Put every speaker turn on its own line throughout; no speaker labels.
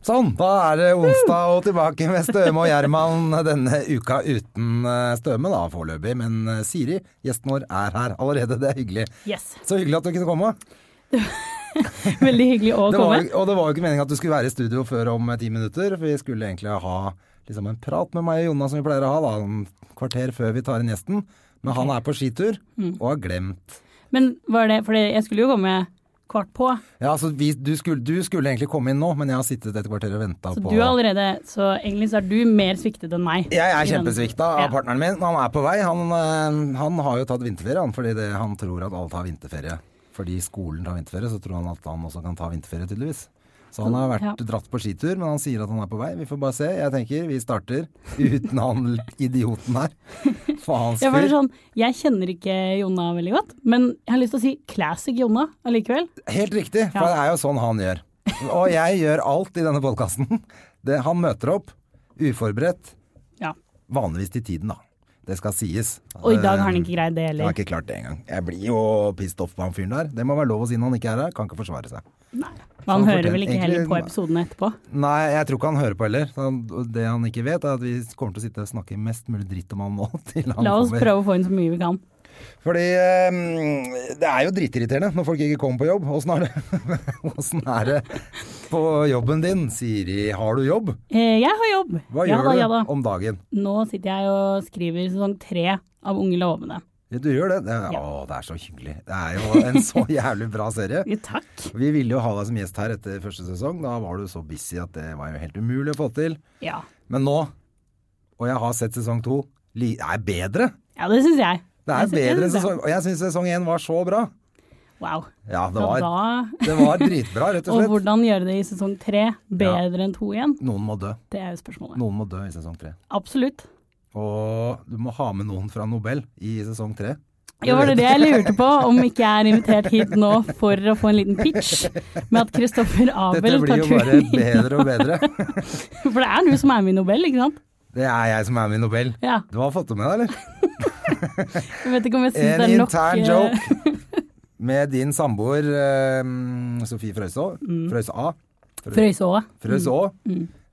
Sånn, da er det onsdag og tilbake med Støme og Gjerman denne uka uten eh, Støme da, foreløpig. Men eh, Siri, gjesten vår, er her allerede. Det er hyggelig.
Yes.
Så hyggelig at du kunne komme.
Veldig hyggelig å
Det var,
komme.
jo- og det var jo ikke meningen at du skulle være i studio før om eh, ti minutter. For vi skulle egentlig ha liksom, en prat med meg og Jonna som vi pleier å ha da, en kvarter før vi tar inn gjesten. Men han er på skitur
Mm.
og har glemt.
Men var det Fordi jeg skulle jo komme kvart på,
Ja, så vi, du, skulle, du skulle egentlig komme inn nå, men jeg har sittet et kvarter og venta
så
på
du er allerede Så egentlig så er du mer sviktet enn meg.
Jeg
I
er
den-
kjempesvikta av
Ja.
partneren min. Han er på vei. Han, eh, han har jo tatt vinterferie, han, fordi det, han tror at alle tar vinterferie. Fordi skolen tar vinterferie, så tror han at han også kan ta vinterferie, tydeligvis. Så han har vært
Ja.
dratt på skitur, men han sier at han er på vei. Vi får bare se. Jeg tenker vi starter uten han idioten her. Faens
Jeg, var
fyr.
sånn, jeg kjenner ikke Jonna veldig godt, men jeg har lyst til å si classic Jonna allikevel.
Helt riktig, for
sånn- Ja.
det er jo sånn han gjør. Og jeg gjør alt i denne podkasten. Han møter opp uforberedt,
Ja.
vanligvis til tiden, da. Det skal sies.
Og i dag har han
Eh,
ikke greid det
Jeg har
heller.
ikke klart det engang. Jeg blir jo pissed off på han fyren der. Det må være lov å si når han ikke er her. Kan ikke forsvare seg.
Men
han
han hører vel
fortjener-
ikke
Sånn egentlig-
heller
Sånn
på episodene etterpå.
Nei, jeg tror ikke han hører på heller. Så han- Det han ikke vet, er at vi kommer til å sitte og snakke mest mulig dritt om han nå. Til han
La oss
kommer.
prøve å få inn så mye vi kan.
Fordi eh, det er jo dritirriterende når folk ikke kommer på jobb. Åssen er det? Åssen er det på jobben din? Siri, har du jobb?
Eh, Jeg har jobb!
Hva
ja
gjør
da,
du
ja da.
om dagen?
Nå sitter jeg og skriver sesong tre av Unge lovende.
Du gjør det? det er,
Ja.
Å, det er så hyggelig. Det er jo en så jævlig bra serie.
Jo, Takk.
Vi ville jo ha deg som gjest her etter første sesong. Da var du så busy at det var jo helt umulig å få til.
Ja,
Men nå, og jeg har sett sesong to, li- det er bedre.
ja det syns jeg.
Det er
Jeg synes- jeg
bedre enn
synes det.
sesong Og jeg syns sesong én var så bra.
Wow.
Ja, det
Ja,
var,
da
det var dritbra, rett og
Og
slett.
hvordan gjøre det i sesong tre bedre enn to igjen?
Noen må dø.
Det er jo spørsmålet.
Noen må dø i sesong tre.
Absolutt.
Og du må ha med noen fra Nobel i sesong tre.
Ja, var det det jeg lurte på, om ikke jeg er invitert hit nå for å få en liten pitch med at Kristoffer
Dette
Abel
blir
tar
jo bare
turen inn.
bedre og bedre.
For det er du som er med i Nobel, ikke sant?
Det er jeg som er med i Nobel.
Ja.
Du har fått det med deg, eller?
Jeg vet ikke om jeg syns
En
det er nok
intern
eh,
joke med din samboer eh, Sofie Frøysaa. Frøysaa.
Frøysået.
Frøs òg.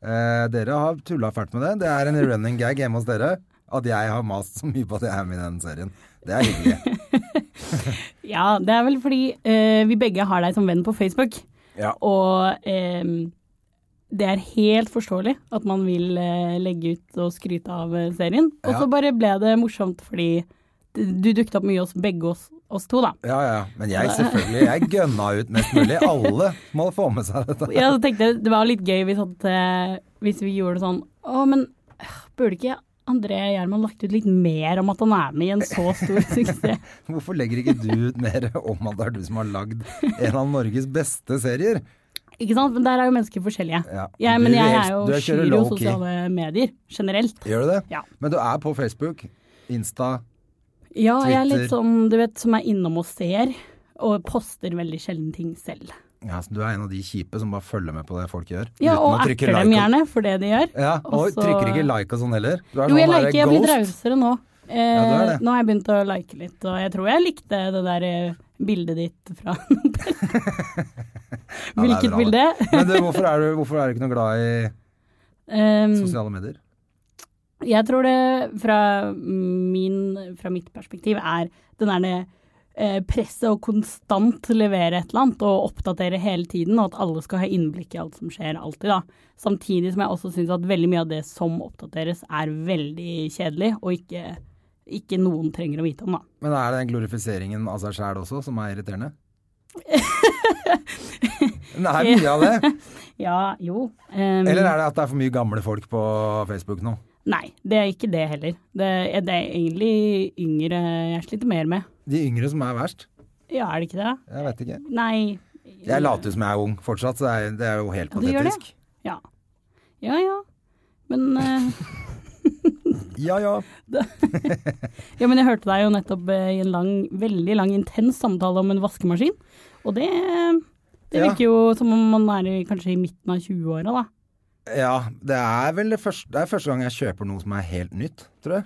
Eh, dere har tulla fælt med det. Det er en running gag hjemme hos dere at jeg har mast så mye på at jeg er med i den serien. Det er hyggelig.
Ja, det er vel fordi eh, vi begge har deg som venn på Facebook,
Ja.
og eh, det er helt forståelig at man vil eh, legge ut og skryte av eh, serien. Og
Ja.
så bare ble det morsomt fordi du dukket opp mye hos begge oss, oss to, da.
Ja, ja. Men jeg selvfølgelig, jeg gønna ut mest mulig. Alle må få med seg dette.
Ja, så tenkte jeg det var litt gøy hvis, at, eh, hvis vi gjorde det sånn Å, men øh, burde ikke André Gjerman lagt ut litt mer om at han er med i en så stor suksess?
Hvorfor legger ikke du ut mer om at det er du som har lagd en av Norges beste serier?
Ikke sant? Men der er jo mennesker forskjellige.
Ja.
Jeg,
Du
men jeg
helst- du
er jo
er- kjører
skyr jo
low-key.
sosiale medier generelt.
Gjør du det?
Ja.
Men du er på Facebook, Insta
Ja, jeg er litt
Twitter.
sånn, du vet, som er innom og ser, og poster veldig sjelden ting selv.
ja, så Du er en av de kjipe som bare følger med på det folk gjør.
Ja,
uten
og
å trykke
erter
like
dem
og-
gjerne for det de gjør.
Ja, og
Også-
trykker ikke like og sånn heller. Du er
Jo, jeg
sånn derre
liker, jeg blir
ghost.
rausere nå. Eh,
Ja, du er det.
nå har jeg begynt å like litt, og jeg tror jeg likte det der eh, bildet ditt fra
Ja, det er
Hvilket
bra,
bilde?
Men du, hvorfor er du, hvorfor er du ikke noe glad i
Um,
sosiale medier?
jeg tror det fra, min, fra mitt perspektiv er den der det, eh, presset å konstant levere et eller annet og oppdatere hele tiden, og at alle skal ha innblikk i alt som skjer, alltid. da. Samtidig som jeg også syns at veldig mye av det som oppdateres er veldig kjedelig, og ikke, ikke noen trenger å vite om, da.
Men er det den glorifiseringen av seg sjæl også som er irriterende? det er mye av
Mm.
det.
Ja, jo. Um,
Eller er det at det er for mye gamle folk på Facebook nå?
Nei, det er ikke det heller. Det er, det er egentlig yngre jeg sliter mer med.
De yngre som er verst?
Ja, er det ikke det?
Jeg vet ikke.
Nei,
Jeg later jo som jeg er ung fortsatt, så jeg- det er jo helt
Ja, du gjør det.
patetisk.
Ja. Ja ja. Men, eh,
Ja ja.
ja, men jeg hørte deg jo nettopp eh, i en lang, veldig lang, intens samtale om en vaskemaskin. Og det, det
Ja.
virker jo som om man er i, kanskje i midten av 20-åra, da.
Ja, det er vel det første, det er første gang jeg kjøper noe som er helt nytt, tror jeg.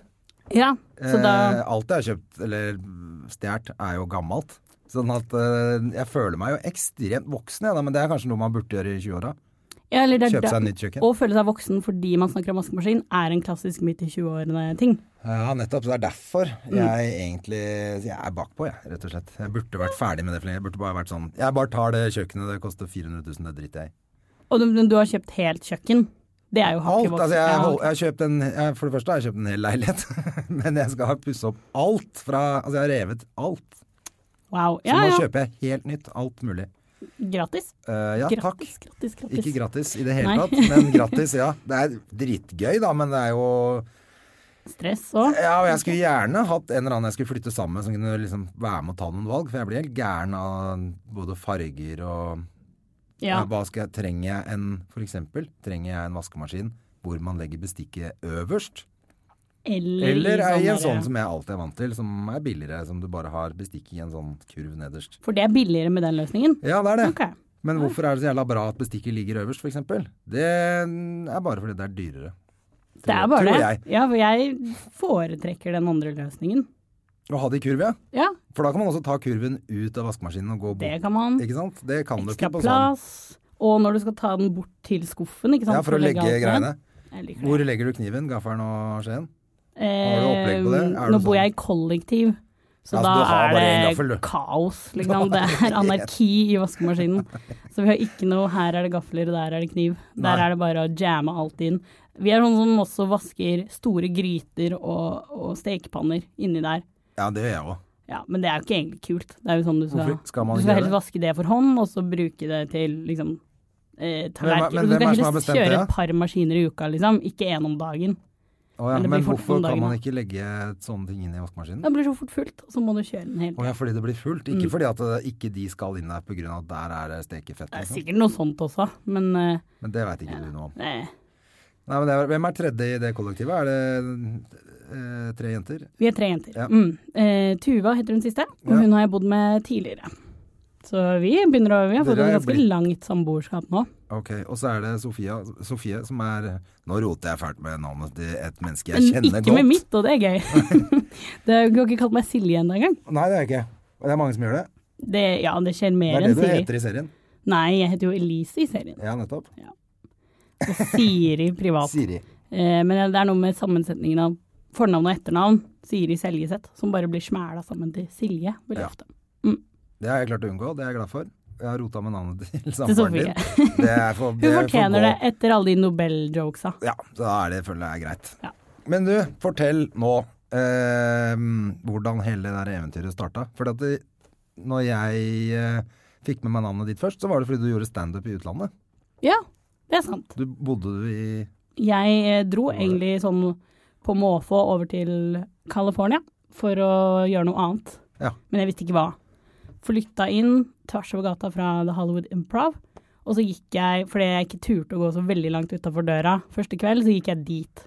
Ja, så da
eh, alt jeg har kjøpt, eller stjålet, er jo gammelt. Sånn at eh, jeg føler meg jo ekstremt voksen, jeg da, men det er kanskje noe man burde gjøre i 20-åra.
ja, eller det er
Kjøpe
da-
seg nytt kjøkken.
Å føle seg voksen fordi man snakker om vaskemaskin, er en klassisk midt i 20-årene-ting.
Ja, nettopp. Så det er derfor jeg egentlig Jeg er bakpå, jeg, rett og slett. Jeg burde vært ferdig med det for lenge. Jeg burde bare vært sånn Jeg bare tar det kjøkkenet, det koster 400 000, det driter jeg i.
Og du, men du har kjøpt helt kjøkken. Det er jo hakket
Alt! Altså, jeg,
Ja,
hold, jeg har kjøpt en jeg, For det første har jeg kjøpt en hel leilighet, men jeg skal pusse opp alt fra Altså, jeg har revet alt.
Wow.
Så
Ja,
nå
ja.
kjøper jeg helt nytt. Alt mulig.
Gratis.
Eh, ja, takk.
Grattis, grattis, grattis.
Ikke gratis i det hele
Nei.
tatt, men gratis, ja. Det er dritgøy, da, men det er jo
Stress og
Ja, og jeg skulle gjerne hatt en eller annen jeg skulle flytte sammen med, som kunne liksom være med og ta noen valg, for jeg blir helt gæren av både farger og
Ja.
Ja, Hva skal jeg Trenger jeg en For eksempel, trenger jeg en vaskemaskin hvor man legger bestikket øverst?
Eller,
Eller er jeg i en
der-
sånn som jeg alltid er vant til, som er billigere, som du bare har bestikket i en sånn kurv nederst?
For det er billigere med den løsningen.
Ja, det er det.
Ok.
Men hvorfor er det så jævla bra at bestikket ligger øverst, for eksempel? Det er bare fordi det er dyrere.
Det er bare
tror
det.
jeg.
Ja, for jeg foretrekker den andre løsningen.
Å ha det i kurv, ja.
Ja,
For da kan man også ta kurven ut av vaskemaskinen og gå bort.
det kan man.
Ikke sant? Det kan du
Ekstra
ikke på sånn.
plass. Og når du skal ta den bort til skuffen, ikke sant.
Ja, for å legge
alt ned.
greiene.
Jeg liker det.
Hvor legger du kniven, gaffelen og skjeen?
Eh,
Har du opplegg på det? Er
nå
det
bor
sånn-
jeg i kollektiv, så
Ja, så du har
da er
bare
det
en gaffel, du.
kaos. Liksom. Det er anarki i vaskemaskinen. Så vi har ikke noe 'her er det gafler, og der er det kniv'. Der
Nei.
er det bare å jamme alt inn. Vi er sånn som også vasker store gryter og, og stekepanner inni der.
Ja, det gjør jeg òg.
Ja, men det er jo ikke egentlig kult. Det er jo sånn du skal,
Hvorfor skal man
du skal
gjøre
helst
det?
vaske det for hånd, og så bruke det til liksom eh,
men
tallerkener. Du
hvem er det som
skal
har
helst
bestemt
kjøre
det,
et par maskiner i uka, liksom. Ikke én om dagen.
Ja,
Men det blir
men
fort
hvorfor
om dagen,
kan man
da.
ikke legge sånne ting inn i vaskemaskinen?
Det blir så fort fullt, og så må du kjøre den hele
Å ja, fordi det blir fullt. Ikke
Mm.
fordi at eh, ikke de skal inn der pga. at der er det stekefett.
Det er
Liksom.
sikkert noe sånt også, men eh,
Men det veit ikke du noe om.
eh,
Nei, men det er, hvem er tredje i det kollektivet? Er det eh, tre jenter?
vi er tre jenter.
Ja.
Mm. Eh, Tuva heter hun siste, og
Ja.
hun har jeg bodd med tidligere. Så vi begynner å Vi har fått
Dere
et
er
ganske
blitt-
langt samboerskap nå.
Ok, Og så er det Sofia, Sofie som er Nå roter jeg fælt med navnet til et menneske jeg
Men
kjenner
ikke
godt.
med mitt, og det er gøy. det, du har ikke kalt meg Silje ennå engang.
Nei, det er jeg ikke. Og Det er mange som gjør det.
Det, ja, det skjer
Det
mer
er det
enn
du
Siri.
heter i serien.
Nei, jeg heter jo Elise i serien.
Ja, nettopp.
Og Siri privat.
Siri.
Eh, men det er noe med sammensetningen av fornavn og etternavn, Siri Seljeseth, som bare blir smæla sammen til Silje veldig
Ja.
ofte.
Det har jeg klart å unngå, det er jeg glad for. Jeg har rota med navnet til
Til
samboeren
Sofie.
din. Det er for,
Hun
det får
fortjener
gå.
det etter alle de Nobel-jokesa.
Ja, så da er det, føler jeg er greit.
Ja.
Men du, fortell nå eh, hvordan hele det der eventyret starta. For at det, når jeg eh, fikk med meg navnet ditt først, så var det fordi du gjorde standup i utlandet.
Ja, det er sant.
Du bodde du i
Jeg eh, dro egentlig sånn på måfå over til California for å gjøre noe annet.
Ja.
Men jeg visste ikke hva. Flytta inn tvers over gata fra The Hollywood Improv. Og så gikk jeg, fordi jeg ikke turte å gå så veldig langt utafor døra første kveld, så gikk jeg dit.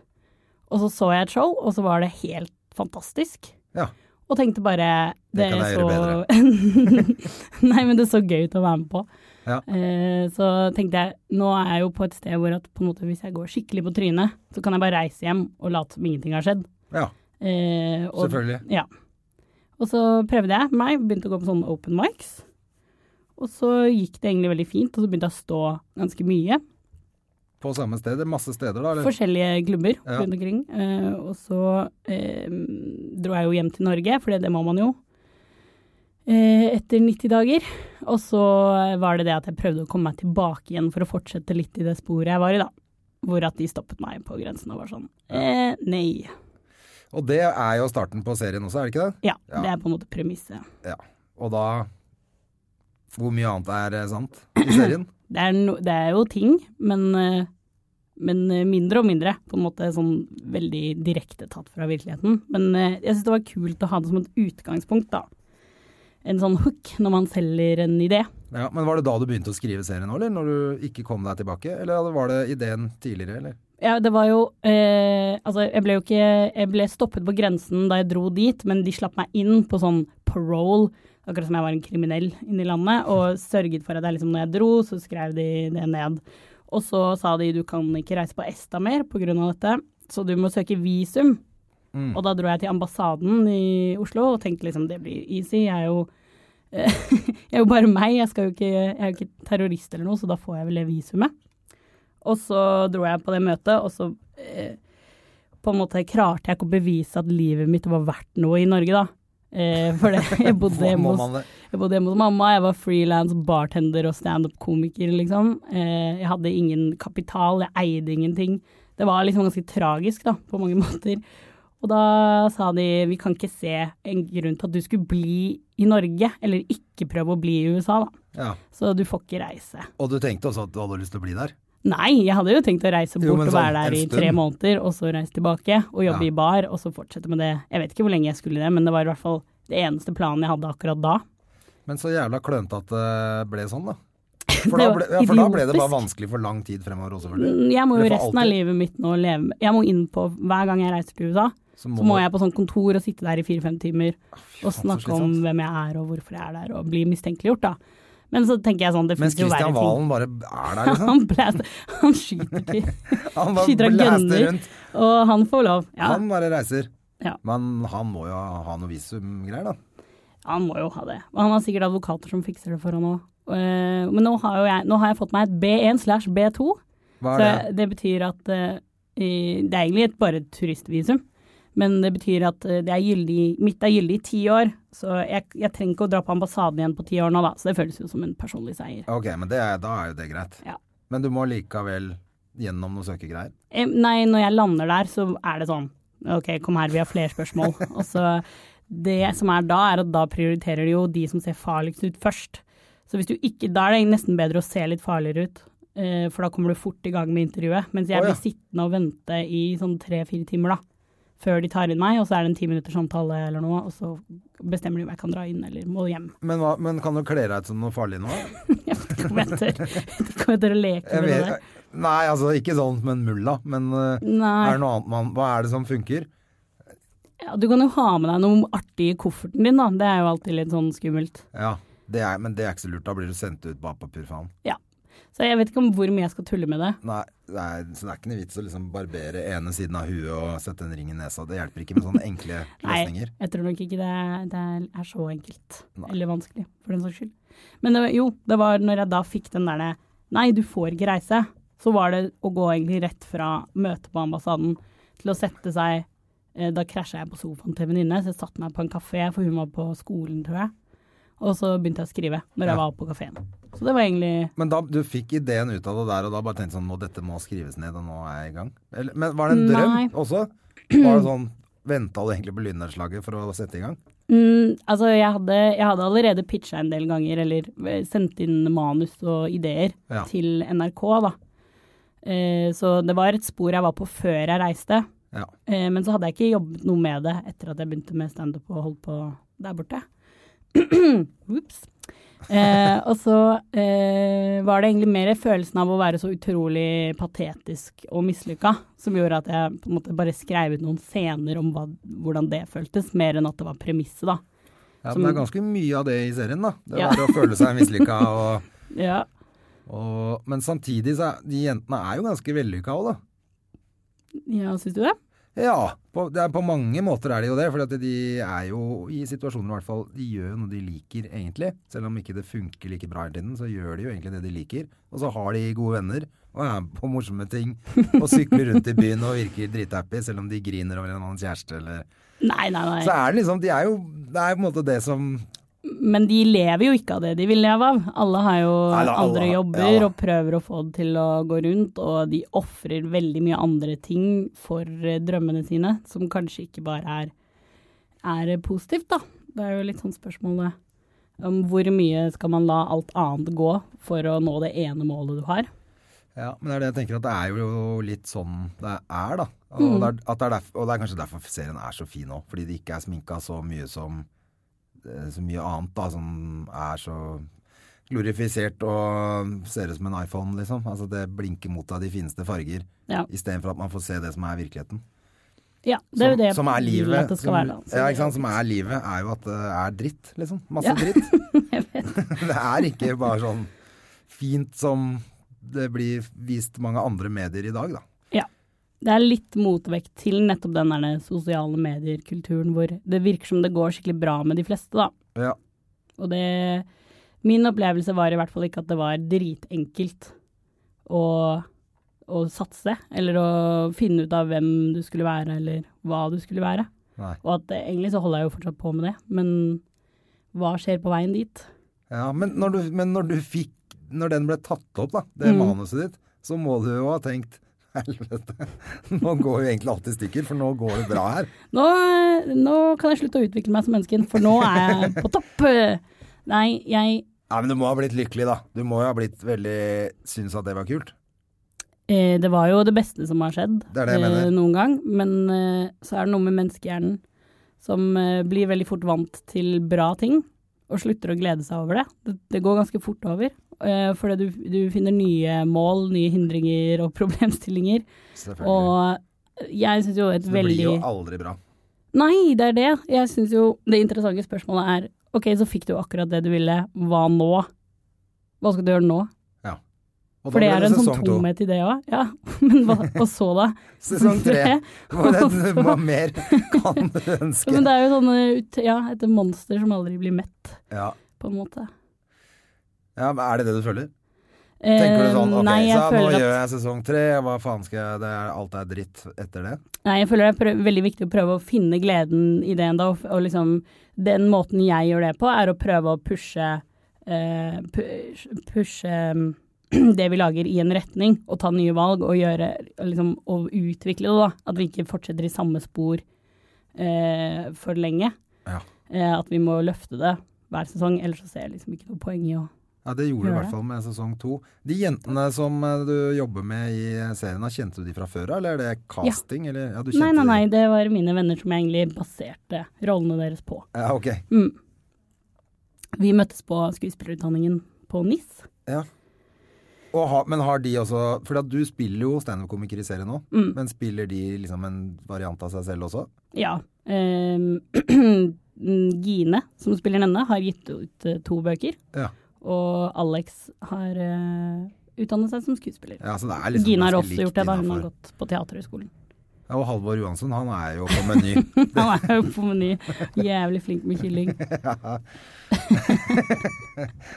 Og så så jeg et show, og så var det helt fantastisk.
Ja.
Og tenkte bare
Det kan jeg gjøre
gjøre bedre. Nei, men det så gøy ut å være med på.
Ja.
Eh, så tenkte jeg, nå er jeg jo på et sted hvor at på en måte hvis jeg går skikkelig på trynet, så kan jeg bare reise hjem og late som ingenting har skjedd.
Ja,
Eh, og,
selvfølgelig.
Ja. Og så prøvde jeg meg, begynte å gå på sånne open mics. Og så gikk det egentlig veldig fint, og så begynte jeg å stå ganske mye.
På samme sted? Masse steder, da? Eller?
Forskjellige klubber
Ja.
rundt omkring. Eh, og så eh, dro jeg jo hjem til Norge, for det må man jo. Eh, etter 90 dager. Og så var det det at jeg prøvde å komme meg tilbake igjen for å fortsette litt i det sporet jeg var i, da. Hvor at de stoppet meg på grensen og var sånn eh, nei.
Og det er jo starten på serien også, er det ikke det?
Ja,
Ja.
det er på en måte premisset.
Ja. Og da Hvor mye annet er eh, sant i serien?
Det er, no, det er jo ting, men, eh, men eh, mindre og mindre. På en måte sånn veldig direkte tatt fra virkeligheten. Men eh, jeg syns det var kult å ha det som et utgangspunkt, da. En sånn hook når man selger en idé.
Ja, men Var det da du begynte å skrive serien òg, eller? Når du ikke kom deg tilbake? Eller var det ideen tidligere, eller?
Ja, det var jo eh, Altså, jeg ble jo ikke Jeg ble stoppet på grensen da jeg dro dit, men de slapp meg inn på sånn parole, akkurat som jeg var en kriminell inne i landet, og sørget for at jeg liksom Når jeg dro, så skrev de det ned. Og så sa de du kan ikke reise på ESTA mer pga. dette, så du må søke visum.
Mm.
Og da dro jeg til ambassaden i Oslo og tenkte liksom det blir easy, jeg er jo jeg er jo bare meg, jeg, skal jo ikke, jeg er jo ikke terrorist eller noe, så da får jeg vel det visumet. Og så dro jeg på det møtet, og så eh, på en måte klarte jeg ikke å bevise at livet mitt var verdt noe i Norge, da. Eh, for det, jeg bodde
Må
hjemme
man
hos,
det?
jeg bodde hjemme hos mamma, jeg var frilans bartender og standup-komiker, liksom. Eh, jeg hadde ingen kapital, jeg eide ingenting. Det var liksom ganske tragisk, da, på mange måter. Og da sa de vi kan ikke se en grunn til at du skulle bli i Norge, eller ikke prøve å bli i USA, da.
Ja.
Så du får ikke reise.
Og du tenkte også at du hadde lyst til å bli der?
Nei, jeg hadde jo tenkt å reise bort
Jo, men
og
sånn,
være der i
en
tre
stund.
måneder, og så reise tilbake og jobbe
Ja.
i bar, og så fortsette med det. Jeg vet ikke hvor lenge jeg skulle det, men det var i hvert fall det eneste planen jeg hadde akkurat da.
Men så jævla klønete at det ble sånn, da. For, da
var
ble, ja, for da ble det bare
idiotisk. Mm,
vanskelig for lang tid fremover også, selvfølgelig.
Jeg må
Det
jo
får
resten av
alltid-
livet mitt nå leve med Jeg må inn på Hver gang jeg reiser til USA, så må, jeg på sånn kontor og sitte der i fire-fem timer og
Ah, faen, så
snakke om hvem jeg er og hvorfor jeg er der, og bli mistenkeliggjort, da. Men så tenker jeg sånn, det
Mens
fins jo verre
Kristian Valen
ting.
bare er der, liksom.
Han, blæster, han skyter til.
Han
Skyter
bare
av
blæster
gunner,
rundt.
og han får lov. Ja,
Han bare reiser.
Ja.
Men han må jo ha noe visumgreier, da.
Han må jo ha det. Og han har sikkert advokater som fikser det for han òg. Men nå har, jo jeg, nå har jeg fått meg et B1 slash B2,
Hva
så
er det?
jeg- det betyr at eh, i- Det er egentlig et bare et turistvisum, men det betyr at eh, det er gyldig, mitt er gyldig i ti år, så jeg, jeg trenger ikke å dra på ambassaden igjen på ti år nå, da. Så det føles jo som en personlig seier.
Ok, men det er, da er jo det greit.
Ja.
Men du må likevel gjennom noen søkegreier.
Eh, Nei, når jeg lander der, så er det sånn Ok, kom her, vi har flere spørsmål. Og så Det som er da, er at da prioriterer de jo de som ser farligst ut først. Så hvis du ikke Da er det nesten bedre å se litt farligere ut, eh, for da kommer du fort i gang med intervjuet. Mens jeg
Å, ja.
blir sittende og vente i sånn tre-fire timer, da. Før de tar inn meg, og så er det en ti minutters samtale eller noe, og så bestemmer de om jeg kan dra inn eller må hjem.
Men, hva, men kan du kle deg ut som noe farlig nå?
Jeg vet ikke om jeg tør, jeg vet ikke om jeg tør å leke
Jeg
med det
vet,
der.
nei, altså ikke sånn men mulla, men eh,
Nei.
er det noe annet man Hva er det som funker?
Ja, du kan jo ha med deg noe artig i kofferten din, da. Det er jo alltid litt sånn skummelt.
Ja, det er, men det er ikke så lurt. Da blir du sendt ut bare på pur faen.
Ja. Så jeg vet ikke om hvor mye jeg skal tulle med det.
Nei, det er, så det er ikke noe vits å liksom barbere ene siden av huet og sette en ring i nesa. Det hjelper ikke med sånne enkle
Nei,
løsninger.
jeg tror nok ikke det, er- det er- er så enkelt.
Nei.
Eller vanskelig, for den saks skyld. Men det, var- jo, det var når jeg da fikk den derre Nei, du får ikke reise. Så var det å gå egentlig rett fra møtet på ambassaden til å sette seg eh, Da krasja jeg på sofaen til en venninne, så jeg satte meg på en kafé, for hun var på skolen, tror jeg. Og så begynte jeg å skrive når jeg
Ja.
var oppe på kafeen. Så det var egentlig
Men da, du fikk ideen ut av det der, og da bare tenkte sånn Nå, dette må skrives ned, og nå er jeg i gang. Eller, men var det en drøm
Nei.
også? Var det sånn Venta du egentlig på lynnedslaget for å sette i gang?
Mm, altså, jeg hadde, jeg hadde allerede pitcha en del ganger, eller eh, sendt inn manus og ideer
Ja.
til NRK, da. Eh, så det var et spor jeg var på før jeg reiste.
Ja.
Eh, men så hadde jeg ikke jobbet noe med det etter at jeg begynte med standup og holdt på der borte. Ops. Eh, og så eh, var det egentlig mer følelsen av å være så utrolig patetisk og mislykka som gjorde at jeg på en måte bare skrev ut noen scener om hva, hvordan det føltes, mer enn at det var premisset, da.
Ja,
Som-
men det er ganske mye av det i serien, da. Det
Ja.
var å føle seg mislykka og,
Ja.
og Men samtidig så er de jentene er jo ganske vellykka òg, da.
ja Syns du det?
Ja, på, det er, på mange måter er de jo det. For de er jo i situasjoner i hvert fall De gjør jo noe de liker, egentlig. Selv om ikke det funker like bra hele tiden, så gjør de jo egentlig det de liker. Og så har de gode venner og er med på morsomme ting. Og sykler rundt i byen og virker drithappy, selv om de griner over en annens kjæreste eller
Nei, nei,
Så
nei.
er det liksom De er jo Det er på en måte det som
Men de lever jo ikke av det de vil leve av. Alle har jo
Nei, da, alle
andre
har-
jobber
ja, da.
og prøver å få det til å gå rundt, og de ofrer veldig mye andre ting for eh, drømmene sine, som kanskje ikke bare er, er positivt, da. Det er jo litt sånn spørsmålet om hvor mye skal man la alt annet gå for å nå det ene målet du har.
Ja, men det er det jeg tenker at det er jo litt sånn det er, da. Og, det, er, at det er derf- og det er kanskje derfor serien er så fin òg, fordi det ikke er sminka så mye som eh, så mye annet da, som er så glorifisert og ser ut som en iPhone, liksom. Altså det blinker mot deg de fineste farger,
Ja.
istedenfor at man får se det som er virkeligheten.
ja det er jo
som,
det
som er
jeg vil
livet.
at det skal
som,
være. da. Så
ja,
det-
ikke sant? Som er livet, er jo at det er dritt, liksom. Masse
Ja.
dritt. det er ikke bare sånn fint som det blir vist mange andre medier i dag, da.
Ja. Det er litt motvekt til nettopp den der sosiale medier-kulturen hvor det virker som det går skikkelig bra med de fleste, da.
Ja.
Og det Min opplevelse var i hvert fall ikke at det var dritenkelt å, å satse, eller å finne ut av hvem du skulle være, eller hva du skulle være.
Nei.
Og at eh, egentlig så holder jeg jo fortsatt på med det, men hva skjer på veien dit?
Ja, men når du, men når du fikk Når den ble tatt opp, da, det
Mm.
manuset ditt, så må du jo ha tenkt Helvete, nå går jo egentlig alt i stykker, for nå går det bra her.
Nå, nå kan jeg slutte å utvikle meg som menneske, for nå er jeg på topp! Nei, jeg
Nei, men du må ha blitt lykkelig, da. Du må jo ha blitt veldig Syns at det var kult.
Eh, Det var jo det beste som har skjedd
Det er det jeg
eh,
mener.
noen gang, men eh, så er det noe med menneskehjernen som eh, blir veldig fort vant til bra ting, og slutter å glede seg over det. Det, det går ganske fort over, eh, fordi du, du finner nye mål, nye hindringer og problemstillinger.
Selvfølgelig.
Og eh, jeg syns jo et
Så det
veldig
blir jo aldri bra.
Nei, det er det. Jeg syns jo det interessante spørsmålet er OK, så fikk du akkurat det du ville, hva nå? Hva skal du gjøre nå?
Og da
For det
ble
er en sånn
sesong to.
tomhet i det òg. Ja, men hva, og så da?
Sesong tre. Hva,
Og
det,
så-
hva mer kan du
Ja,
ønske?
men det er jo sånne ut- ja, et monster som aldri blir mett,
Ja.
på en måte.
ja, men Er det det du føler?
Eh,
Tenker du sånn ok,
nei, jeg
så nå
føler at,
gjør jeg sesong tre, hva faen skal jeg det er, Alt er dritt etter det?
Nei, jeg føler det er prøv, veldig viktig å prøve å finne gleden i det enda, og, f- og liksom Den måten jeg gjør det på, er å prøve å pushe eh, pu- Pushe mm, det vi lager i en retning, og ta nye valg og gjøre og liksom, Og utvikle det, da. At vi ikke fortsetter i samme spor eh, for lenge.
Ja.
Eh, at vi må løfte det hver sesong, ellers så ser jeg liksom ikke noe poeng i å
Ja, Det gjorde du i
Gjør
hvert
det.
fall med sesong to. De jentene som eh, du jobber med i serien, da, kjente du de fra før av, eller er det casting? Eller? Ja, du
Nei,
kjente
nei,
de.
nei, det var mine venner som jeg egentlig baserte rollene deres på.
Ja, ok.
Mm. Vi møttes på skuespillerutdanningen på NIS.
Ja. Og har- men har de også For at du spiller jo standup-komiker i serien nå,
Mm.
men spiller de liksom en variant av seg selv også?
Ja. ehm, Gine, som spiller denne, har gitt ut eh, to bøker,
Ja.
og Alex har eh, utdannet seg som skuespiller.
ja så det er liksom
Gine har
ganske
også
likt
gjort det, da. Hun
innenfor.
har gått på Teaterhøgskolen.
Ja, og Halvor Johansson, han er jo på meny.
Han er jo på Meny. Jævlig flink med kylling.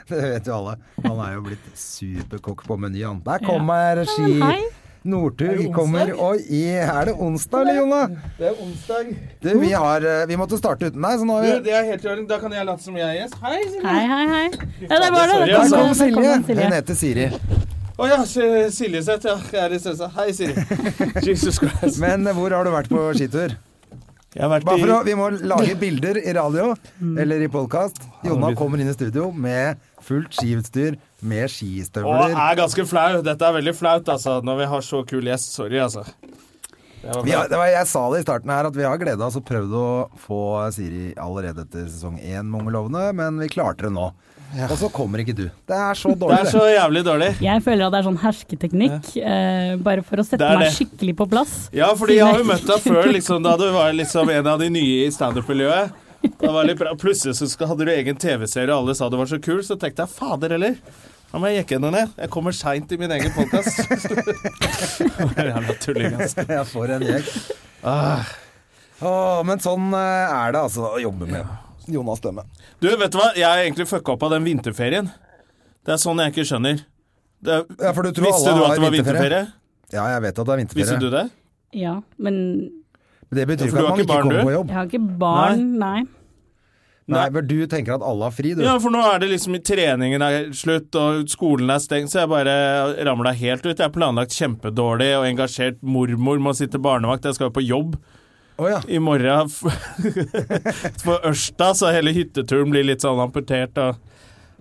Det vet jo alle. Han er jo blitt superkokk på Meny, han. Der kommer
Men hei!
regi Northug kommer. Oi, i- er det onsdag eller, Jonna?
Det er onsdag.
Du, vi, har, eh, vi måtte starte uten deg, så nå har
Du,
vi
det er helt i orden. Da kan jeg late som jeg er gjest. Hei, Silje.
Hei, hei, hei. Ja, der var det.
Sorry,
Der
Der
altså.
kom
kom
det, der kom
Silje.
den,
Hun
Silje.
heter Siri.
Å ja, Si- Silje Seth. Ja, jeg er litt stressa. Hei, Siri. Jesus Christ.
Men eh, hvor har du vært på skitur?
Jeg har vært
Bare for å,
i
Vi må lage bilder i radio
Mm.
eller i podkast. Jonna kommer inn i studio med fullt skiutstyr, med
Og
skistøvler.
er ganske flau. Dette er veldig flaut, altså. Når vi har så kul gjest. Sorry, altså. Det var
Vi har,
flaut.
det var, jeg sa det i starten her, at vi har gleda oss og prøvd å få Siri allerede etter sesong én, Mongolovene, men vi klarte det nå. Og så kommer ikke du. Det er så
Det
dårlig.
er så jævlig dårlig.
Jeg føler at det er sånn hersketeknikk, eh, bare for å sette
Det er
meg
det.
skikkelig på plass.
Ja, fordi jeg har jo møtt deg før, liksom, da du var liksom en av de nye i standup-miljøet. Det var litt bra. Plutselig så skal- hadde du egen TV-serie, og alle sa du var så kul, så tenkte jeg fader heller. Da må jeg jekke henne ned. Jeg kommer seint i min egen podkast. Jævla tulling, altså.
Jeg får en gjeng.
Ah.
Åh, men sånn eh, er det altså å jobbe med Jonas Stemme.
Du, vet du hva? Jeg er egentlig fucka opp av den vinterferien. Det er sånn jeg ikke skjønner. Det er,
Ja, for du tror
visste
alle
du
har
at det var
vinterferie?
vinterferie?
Ja, jeg vet at det er
Visste du
vinterferie.
det?
Ja, men
Men det betyr ikke
For du
at
har
man
ikke
ikke
barn,
kommer
du?
på jobb.
Jeg har ikke barn, nei.
Nei, men du tenker at alle har fri, du.
Ja, for nå er det liksom i treningen er slutt, og skolen er stengt, så jeg bare ramla helt ut. Jeg er planlagt kjempedårlig og engasjert. Mormor må sitte barnevakt, jeg skal jo på jobb
Å ja.
i morgen. På Ørsta, så hele hytteturen blir litt sånn amputert. og...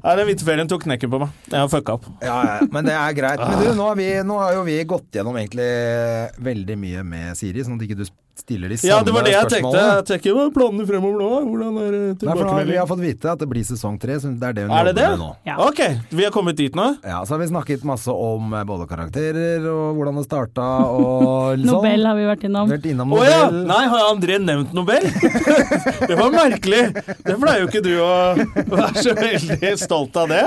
Nei, Den vinterferien tok knekken på meg. Jeg har fucka opp.
Ja, ja, men det er greit. Men du, nå har, vi, nå har jo vi gått gjennom egentlig veldig mye med Siri, sånn at ikke du stiller de samme
Ja, det var det jeg tenkte.
spørsmålene.
Jeg tenker, Hva er planene fremover nå? Hvordan er eh, det
Nei, for nå, har vi har
tilbakemelding?
fått vite at det blir sesong tre, så det er det hun
Er det
jobber
det?
med nå.
Ja.
Ok, vi har kommet dit nå.
Ja, så har vi snakket masse om eh, både karakterer og hvordan det starta og litt sånn.
Nobel har vi vært innom.
Vært innom
Å ja!
Nobel.
Nei, har André nevnt Nobel? Det var merkelig! Det pleier jo ikke du å være så veldig stolt av det.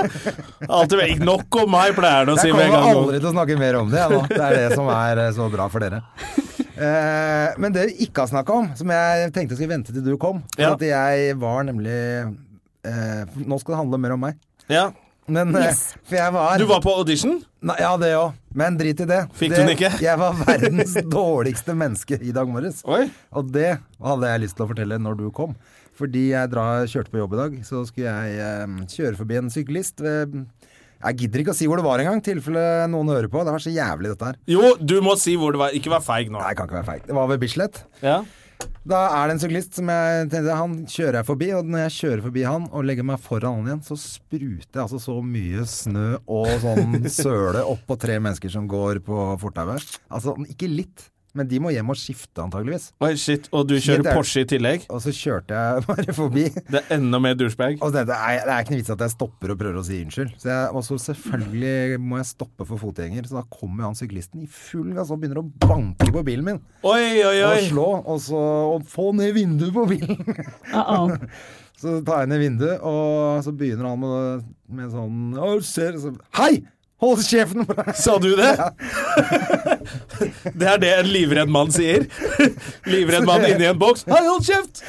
Alltid vekk. Nok om meg, pleier han å si
Jeg
med en
kommer
gang.
aldri til å snakke mer om det. Jeg, nå. Det er det som er eh, så bra for dere. Eh, men det vi ikke har snakka om, som jeg tenkte skulle vente til du kom For
Ja.
at jeg var nemlig eh, Nå skal det handle mer om meg.
Ja.
Men eh,
Yes.
For jeg var
Du var på audition?
Nei, Ja, det òg. Men drit i det.
Fikk
det,
hun ikke?
Jeg var verdens dårligste menneske i dag morges.
Oi.
Og det hadde jeg lyst til å fortelle når du kom. Fordi jeg dra, kjørte på jobb i dag, så skulle jeg eh, kjøre forbi en syklist. Ved, jeg gidder ikke å si hvor det var engang, i tilfelle noen hører på. Det var så jævlig, dette her.
Jo, du må si hvor det var. Ikke vær feig nå.
Nei, kan ikke være feigt. Det var ved Bislett.
Ja.
Da er det en syklist som jeg tenkte Han kjører jeg forbi, og når jeg kjører forbi han og legger meg foran han igjen, så spruter jeg altså så mye snø og sånn søle oppå tre mennesker som går på fortauet. Altså, ikke litt, men de må hjem og skifte, antageligvis.
Oi, shit. Og du
Shit,
kjører
er-
Porsche i tillegg?
Og så kjørte jeg bare forbi.
Det er enda mer douchebag.
Og det, det, er, det er ikke noe vits at jeg stopper og prøver å si unnskyld. Så jeg, og så selvfølgelig må jeg stoppe for fotgjenger, så da kommer han syklisten i full gass og begynner å banke på bilen min.
Oi, oi,
Og
oi.
slå, og så og få ned vinduet på bilen!
Uh -oh.
Så tar jeg ned vinduet, og så begynner han med, med sånn Å, ser så, Hei! Hold kjeften på deg!
Sa du det? Det er det en livredd mann sier. Livredd mann inni en boks. Hei, hold kjeft!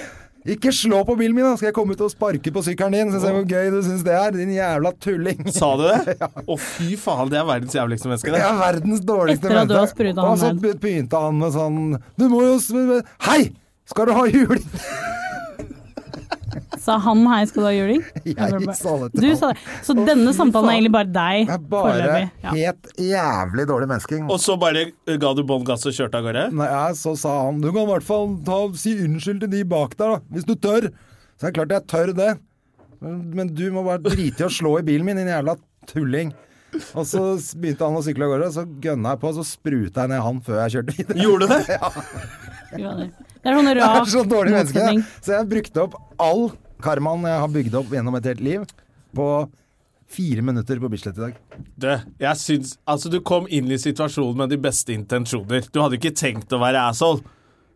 Ikke slå på bilen min, da skal jeg komme ut og sparke på sykkelen din! Så se hvor gøy du syns det er, din jævla tulling!
Sa du det? Å, fy faen, det er verdens jævligste menneske, det.
Jeg er verdens dårligste
Etter at du har
menneske.
spruta han
Og så
ned.
be- begynte han med sånn Du må jo sv- Hei! Skal du ha juling?
Sa han hei, skal du ha juling?
Jeg sa det til
Du
han.
sa det. Så denne samtalen er egentlig bare deg
Jeg er bare
foreløpig. Ja.
helt jævlig dårlig menneske.
Og så bare ga du bånn gass og kjørte av gårde?
Nei, ja, så sa han Du kan i hvert fall ta, si unnskyld til de bak der, da. Hvis du tør. Så det er klart jeg tør det. Men, men du må bare drite i å slå i bilen min, din jævla tulling. Og så s- begynte han å sykle av gårde, og så gønna jeg på, og så spruta jeg ned han før jeg kjørte videre.
Gjorde du det?
Fy fader. Det er sånn
Jeg
rar
er så dårlig menneske.
motsetning.
Så jeg brukte opp all karmaen jeg har bygd opp gjennom et helt liv, på fire minutter på Bislett i dag.
Du, jeg syns Altså, du kom inn i situasjonen med de beste intensjoner. Du hadde ikke tenkt å være asshole.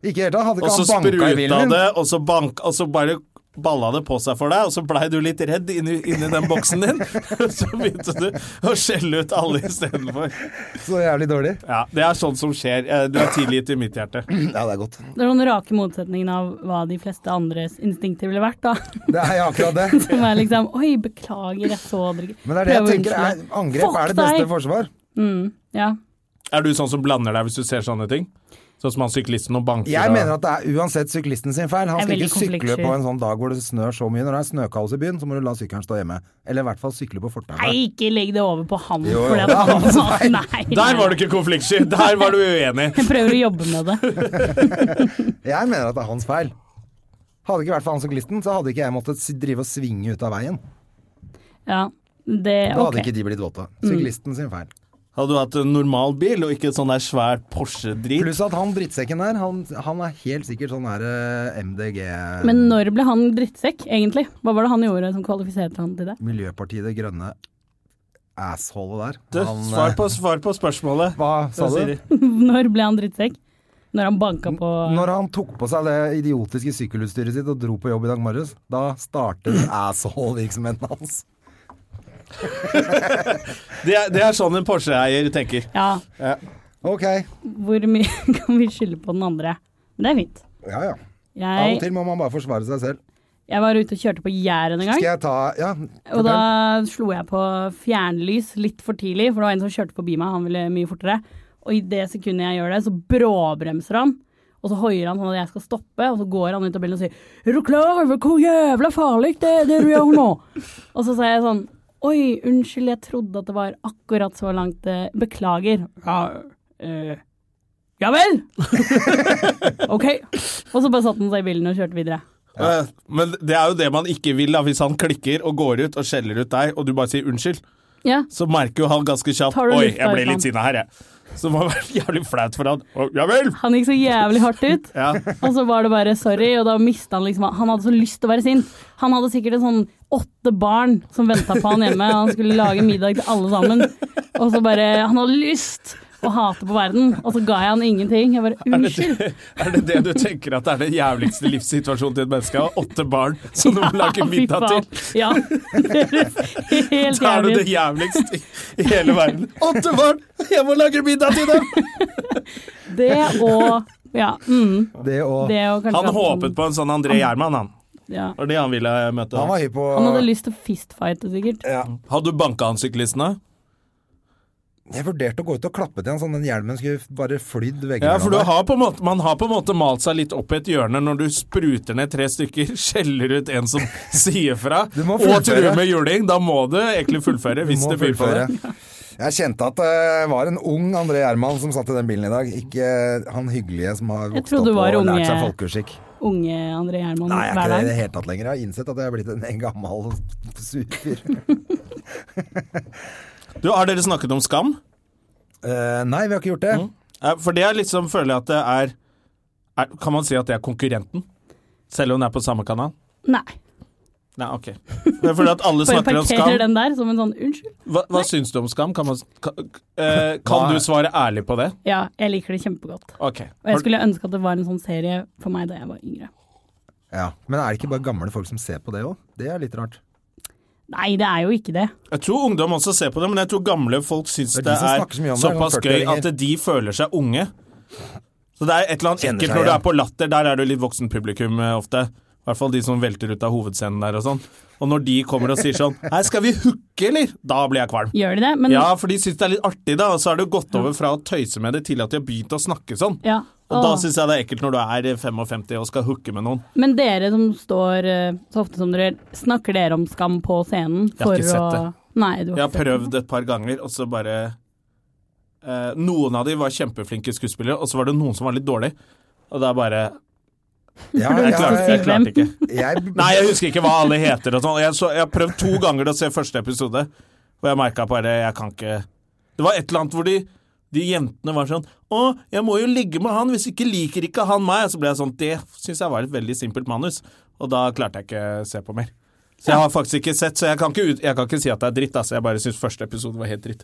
Ikke helt, da. Hadde
Og
ikke
så
han banka i
spruta
bilen min.
det, og så bank... Og så bare balla det på seg for deg, og så blei du litt redd inni, inni den boksen din. Så begynte du å skjelle ut alle istedenfor.
Så jævlig dårlig.
Ja, det er sånt som skjer. Eh, Du er tilgitt i mitt hjerte.
Ja, det er godt.
Det er sånn rake motsetningen av hva de fleste andres instinkter ville vært, da.
Det er akkurat det.
Som er liksom Oi, beklager, jeg så dere ikke
Men det er det jeg
Prøver å
tenker. Er,
unnskylde.
angrep
Fuck
er det beste
deg!
forsvar.
Mm, ja.
Er du sånn som blander deg hvis du ser sånne ting? Sånn som han syklisten og banker
Jeg
og-
mener at det er uansett syklisten sin feil. Han
Jeg er
skal
veldig
ikke sykle
konfliktsky.
på en sånn dag hvor det snør så mye. Når det er snøkaos i byen, så må du la sykkelen stå hjemme. Eller i hvert fall sykle på
Nei,
fortauet.
ikke legg det over på han.
Jo, jo,
fordi
det
at
er hans feil.
han nei,
Der var du ikke konfliktsky! Der var du uenig!
Jeg prøver å jobbe med det.
Jeg mener at det er hans feil. Hadde det ikke vært for han syklisten, så hadde ikke jeg måttet s- drive og svinge ut av veien.
Ja, det
Da hadde
Ok. Mm.
ikke de blitt våte. Syklisten sin feil.
Hadde du hatt en normal bil og ikke sånn der svær Porsche-drit
Pluss at han drittsekken der, han, han er helt sikkert sånn der eh, MDG
Men når ble han drittsekk, egentlig? Hva var det han gjorde som kvalifiserte han til det?
Miljøpartiet Det Grønne assholet
Du,
der. Han, eh,
Svar på, svar på spørsmålet.
Hva sa
sier
du?
de?
Når ble han drittsekk? Når han banka på
Når han tok på seg det idiotiske sykkelutstyret sitt og dro på jobb i dag morges, da startet asshole-virksomheten hans.
Det er, det er sånn en Porsche-eier tenker.
Ja,
Ok.
hvor mye kan vi skylde på den andre? Men det er fint.
Ja, ja. Av og
Jeg,
til må man bare forsvare seg selv.
jeg var ute og kjørte på Jæren en gang.
Skal jeg ta Ja.
Og da
fortell.
slo jeg på fjernlys litt for tidlig, for det var en som kjørte forbi meg, han ville mye fortere. Og i det sekundet jeg gjør det, så bråbremser han. Og så hoier han sånn at jeg skal stoppe, og så går han ut av bilen og sier 'Er du klar over hvor jævla farlig det er det du gjør nå?' og så sa jeg sånn 'Oi, unnskyld, jeg trodde at det var akkurat så langt. eh, Beklager.' Ja, eh, ja vel! ok. Og så bare satte han seg i bilen og kjørte videre.
Eh, Men det er jo det man ikke vil da, hvis han klikker og går ut og skjeller ut deg, og du bare sier unnskyld.
Ja.
så merker jo han ganske kjapt
Tar du
Oi,
lufta
jeg
ut av
ble
han?»
litt sinna her, jeg. Så det må ha vært jævlig flaut for han. Å, Ja vel!
Han gikk så jævlig hardt ut,
Ja.
og så var det bare sorry, og da mista han liksom Han hadde så lyst til å være sint. Han hadde sikkert en sånn åtte barn som venta på han hjemme, og han skulle lage middag til alle sammen. Og så bare Han hadde lyst å hate på verden, og så ga jeg han ingenting. Jeg bare unnskyld.
Er det det du tenker at er den jævligste livssituasjonen til et menneske? Å ha åtte barn som du må lage
Ja, fy
middag
faen.
til?
Ja. Det høres helt
Da er du
jævlig
det
ut.
jævligst i, i hele verden. Åtte barn! Jeg må lage middag til dem!
Det og Ja. Mm,
Det og
det og kanskje
Han håpet på en sånn André Gjerman, han.
ja.
Det var det han ville møte.
Han var hypp på
Han hadde lyst til å fistfighte, sikkert.
ja.
Hadde du banka han syklistene?
Jeg vurderte å gå ut og klappe til han sånn den hjelmen skulle bare flydd veggene.
Ja, for du
mellom der.
har på en måte, man har på en måte malt seg litt opp i et hjørne når du spruter ned tre stykker, skjeller ut en som sier fra,
Du må
og truer
fullføre.
med juling. Da må du egentlig fullføre, hvis
Du må
du byr på det.
fullføre. Jeg kjente at det var en ung André Gjerman som satt i den bilen i dag. Ikke han hyggelige som har vokst
trodde
opp
du
og
var unge.
lært seg folkeskikk.
Unge André Gjerman
Nei, jeg er ikke det i
hver dag.
det hele tatt lenger. Jeg har innsett at jeg er blitt en, en gammel surfyr.
Du, har dere snakket om skam?
Eh, nei, vi har ikke gjort det.
Eh, For det er liksom, føler jeg at det er, er Kan man si at det er konkurrenten? Selv om den er på samme kanal?
Nei.
Nei, ok. Det er fordi at alle
Bare
snakker om
parkerer
skam.
den der som en sånn unnskyld.
Hva, hva syns du om skam? Kan, man, kan, eh, kan du svare ærlig på det?
Ja, jeg liker det kjempegodt. Og
Ok.
jeg
Har-
skulle ønske at det var en sånn serie for meg da jeg var yngre.
Ja. Men er det ikke bare gamle folk som ser på det òg? Det er litt rart.
Nei, det er jo ikke det.
Jeg tror ungdom også ser på det, men jeg tror gamle folk syns det
Det er de
er,
som snakker så mye om det,
såpass
sånn
gøy
40-åringer.
at de føler seg unge. Så det er et eller annet
Kjenner
ekkelt
seg
når du
igjen.
er på Latter, der er det litt voksen publikum eh, ofte. I hvert fall de som velter ut av hovedscenen der og sånn. Og når de kommer og sier sånn Hei, skal vi hooke, eller? Da blir jeg kvalm.
Gjør de det? Men
Ja, for de syns det er litt artig, da, og så har det gått over fra å tøyse med det til at de har begynt å snakke sånn.
Ja.
Og da
Åh.
syns jeg det er ekkelt når du er eh, 55 og skal hooke med noen.
Men dere som står eh, så ofte som dere gjør, snakker dere om skam på scenen?
Jeg har ikke
for
sett
å...
det.
Nei, du har
Jeg har
ikke sett det.
prøvd et par ganger, og så bare eh, Noen av de var kjempeflinke skuespillere, og så var det noen som var litt dårlig. Og da bare
Ja,
Du
Jeg
skal
klarte,
si
jeg klarte
hvem.
ikke.
jeg,
Nei, jeg husker ikke hva alle heter og sånn. Jeg, så- jeg har prøvd to ganger å se første episode, og jeg merka bare Jeg kan ikke Det var et eller annet hvor de de jentene var sånn 'Å, jeg må jo ligge med han, hvis ikke liker ikke han meg.' Så ble jeg sånn Det syns jeg var et veldig simpelt manus, og da klarte jeg ikke se på mer. Så jeg har faktisk ikke sett, så jeg kan ikke, ut, jeg kan ikke si at det er dritt, altså. Jeg bare syns første episode var helt dritt.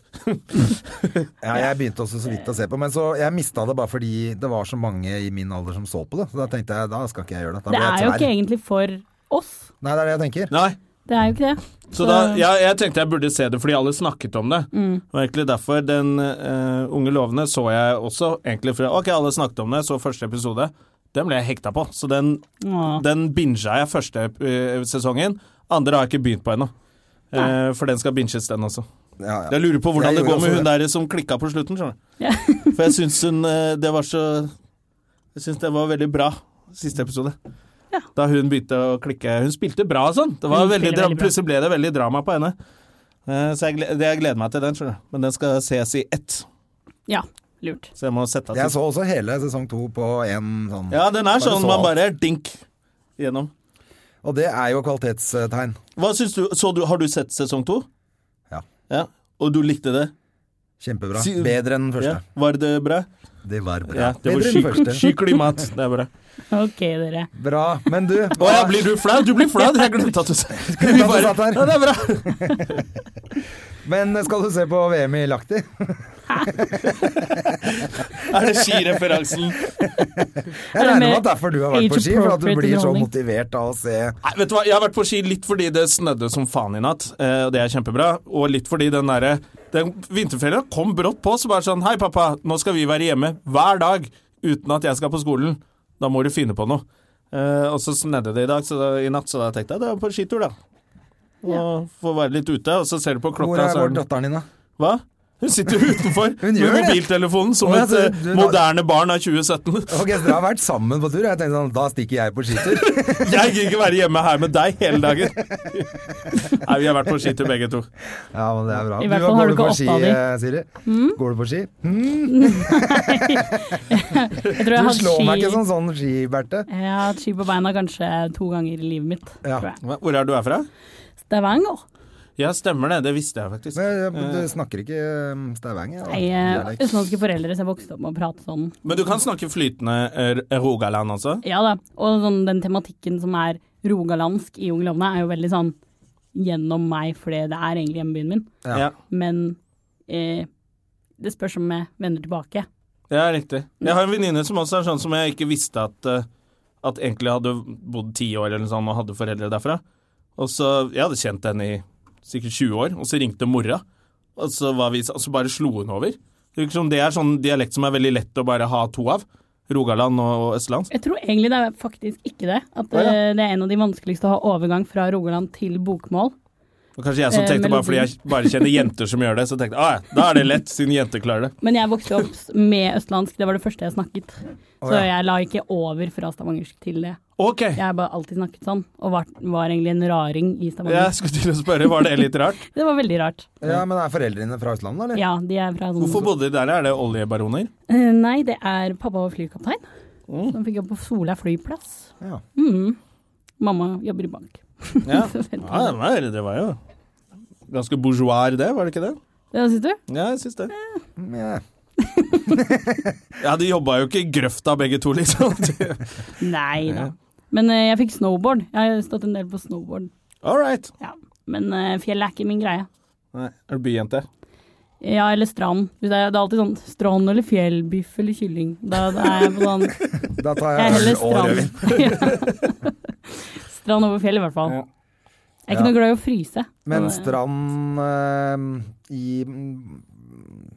ja, jeg begynte også så vidt å se på, men så jeg mista det bare fordi det var så mange i min alder som så på det. Så da tenkte jeg da skal ikke jeg gjøre det. Da
Det
blir
er
jeg
jo
tvær.
ikke egentlig for oss.
Nei, det er det jeg tenker.
Nei.
Det er jo ikke det.
Så da, ja, jeg tenkte jeg burde se det fordi alle snakket om det. Og egentlig derfor den eh, Unge lovende så jeg også egentlig fordi Ok, alle snakket om det, så første episode. Den ble jeg hekta på, så den,
Åh.
den binga jeg første eh, sesongen. Andre har jeg ikke begynt på ennå. Eh, for den skal binges, den også.
Ja, ja.
Jeg lurer på hvordan
Jeg
det
gjorde
går med
også
hun der som klikka på slutten, skjønner du.
Ja.
For jeg syns hun eh, Det var så Jeg syns det var veldig bra, siste episode.
Ja.
Da hun begynte å klikke Hun spilte bra og sånn. Det var
Hun
veldig
spiller
dra-
veldig bra.
Plutselig ble det veldig drama på henne. Eh, Så jeg, gle- det- jeg gleder meg til den, skjønner du. Men den skal ses i ett.
ja, lurt.
Så jeg må sette av
Jeg
tid.
så også hele sesong to på én sånn.
Altså- Ja, den er
Bare
sånn
så
man
alt.
bare dink gjennom.
Og det er jo kvalitetstegn.
Hva syns du, så du Har du sett sesong to?
Ja.
ja. Og du likte det?
Kjempebra.
Si-
Bedre enn den
Ja.
første.
Var det bra?
Det var bra.
Ja, det var
Bedre enn den
sky,
første.
sky klimat. Det er bra.
Ok, dere.
Bra. Men du,
Å ja,
hva,
blir du flau? Du blir flau! Jeg glemte at du sa
glemte at du
Bare-
satt her.
Ja, det er bra.
men skal du se på VM i Lahti?
Er det skireferansen?
Jeg
det
regner med
mer
at derfor du har vært på ski, for at du
age-appropriate
blir så
underholdning?
motivert av å se
Nei, vet du hva? Jeg har vært på ski litt fordi det snødde som faen i natt, eh, og det er kjempebra. Og litt fordi den derre Den vinterferien kom brått på, så bare sånn Hei, pappa, nå skal vi være hjemme hver dag uten at jeg skal på skolen. Da må du finne på noe. Eh, og så snødde det i dag, så da, i natt, så da tenkte jeg det er på skitur, da. Og Få være litt ute, og så ser du på
Hvor
klokka,
er
så
vår
er sånn. den
datteren din, da?
Hva? Hun sitter utenfor
Hun
med
gjør det.
mobiltelefonen som
Å, ja,
et
så
eh,
du-
moderne barn av 2017.
Ok, så Dere har vært sammen på tur. og Jeg tenkte sånn, Da stikker jeg på skitur.
Jeg gidder ikke være hjemme her med deg hele dagen. Nei, vi har vært på skitur begge to.
Ja, men det er bra.
I hvert fall har
går
du ikke
på ski,
oppa di.
eh, Siri?
Mm?
Går du på ski?
Jeg tror
Du
jeg har
slår meg ikke
ski
som sånn ski, Berthe.
Jeg har hatt ski på beina kanskje to ganger i livet mitt.
Ja.
Tror jeg.
Hvor er du er fra?
Stavanger.
Ja, stemmer det. Det visste jeg faktisk.
Men jeg, du snakker ikke eh, stavanger?
Nei, eh, utenlandske foreldre som jeg vokste opp med å prate sånn.
Men du kan snakke flytende eh, Rogaland også?
Ja da. Og sånn, den tematikken som er rogalandsk i Unge lovende, er jo veldig sånn gjennom meg, fordi det er egentlig hjembyen min.
Ja.
Ja.
Men eh, det spørs om jeg vender tilbake.
Ja, riktig. Jeg har en venninne som også er sånn som jeg ikke visste at, eh, at egentlig hadde bodd ti år eller noe sånt og hadde foreldre derfra. Og så, Jeg hadde kjent henne i sikkert 20 år, og så ringte mora, og så, var vi, og så bare slo hun over. Det virker som det er sånn dialekt som er veldig lett å bare ha to av. Rogaland og, og østlands.
Jeg tror egentlig det er faktisk ikke det. At
Å, ja.
eh, det er en av de vanskeligste å ha overgang fra Rogaland til bokmål.
Og kanskje jeg som
Eh,
tenkte bare fordi
melodi.
jeg bare kjenner jenter som gjør det, så tenkte jeg ah, ja, da er det lett, siden jenter klarer det.
Men jeg vokste opp s- med østlandsk, det var det første jeg snakket. Så
ja.
jeg la ikke over fra stavangersk til det.
Ok,
Jeg har bare alltid snakket sånn, og var, var egentlig en raring i
jeg
Stavanger.
skulle til å spørre, var det litt rart?
Det var veldig rart.
Ja, men er foreldrene fra Østlandet, eller?
Ja, de er fra sånn
Hvorfor bodde de der? Er det oljebaroner?
Eh, Nei, det er pappa var flykaptein. Som fikk jobb på Sola flyplass.
Mm. Ja.
Mm. Mamma jobber i bank.
Ja.
Så vet
Ja, det var, det var jo ganske bourgeois, det, var det ikke det?
du. Ja, sier du?
Ja, jeg syns det.
Mm, ja.
Ja, de jobba jo ikke i grøfta begge to, liksom.
Nei da. Men eh, jeg fikk snowboard. Jeg har stått en del på snowboard.
All right.
Ja. Men eh, fjellet er ikke min greie.
Nei, er du byjente?
Ja, eller strand. Hvis Det er, det er alltid sånn strand eller fjell, biff eller kylling. Da, da er jeg på sånn Jeg
Da tar
er
jeg øl
heller
og rødvin.
strand. Ja. strand over fjell, i hvert fall.
Ja.
Jeg er ikke
Ja.
noe glad i å fryse.
Men
Så det-
strand eh, i mm,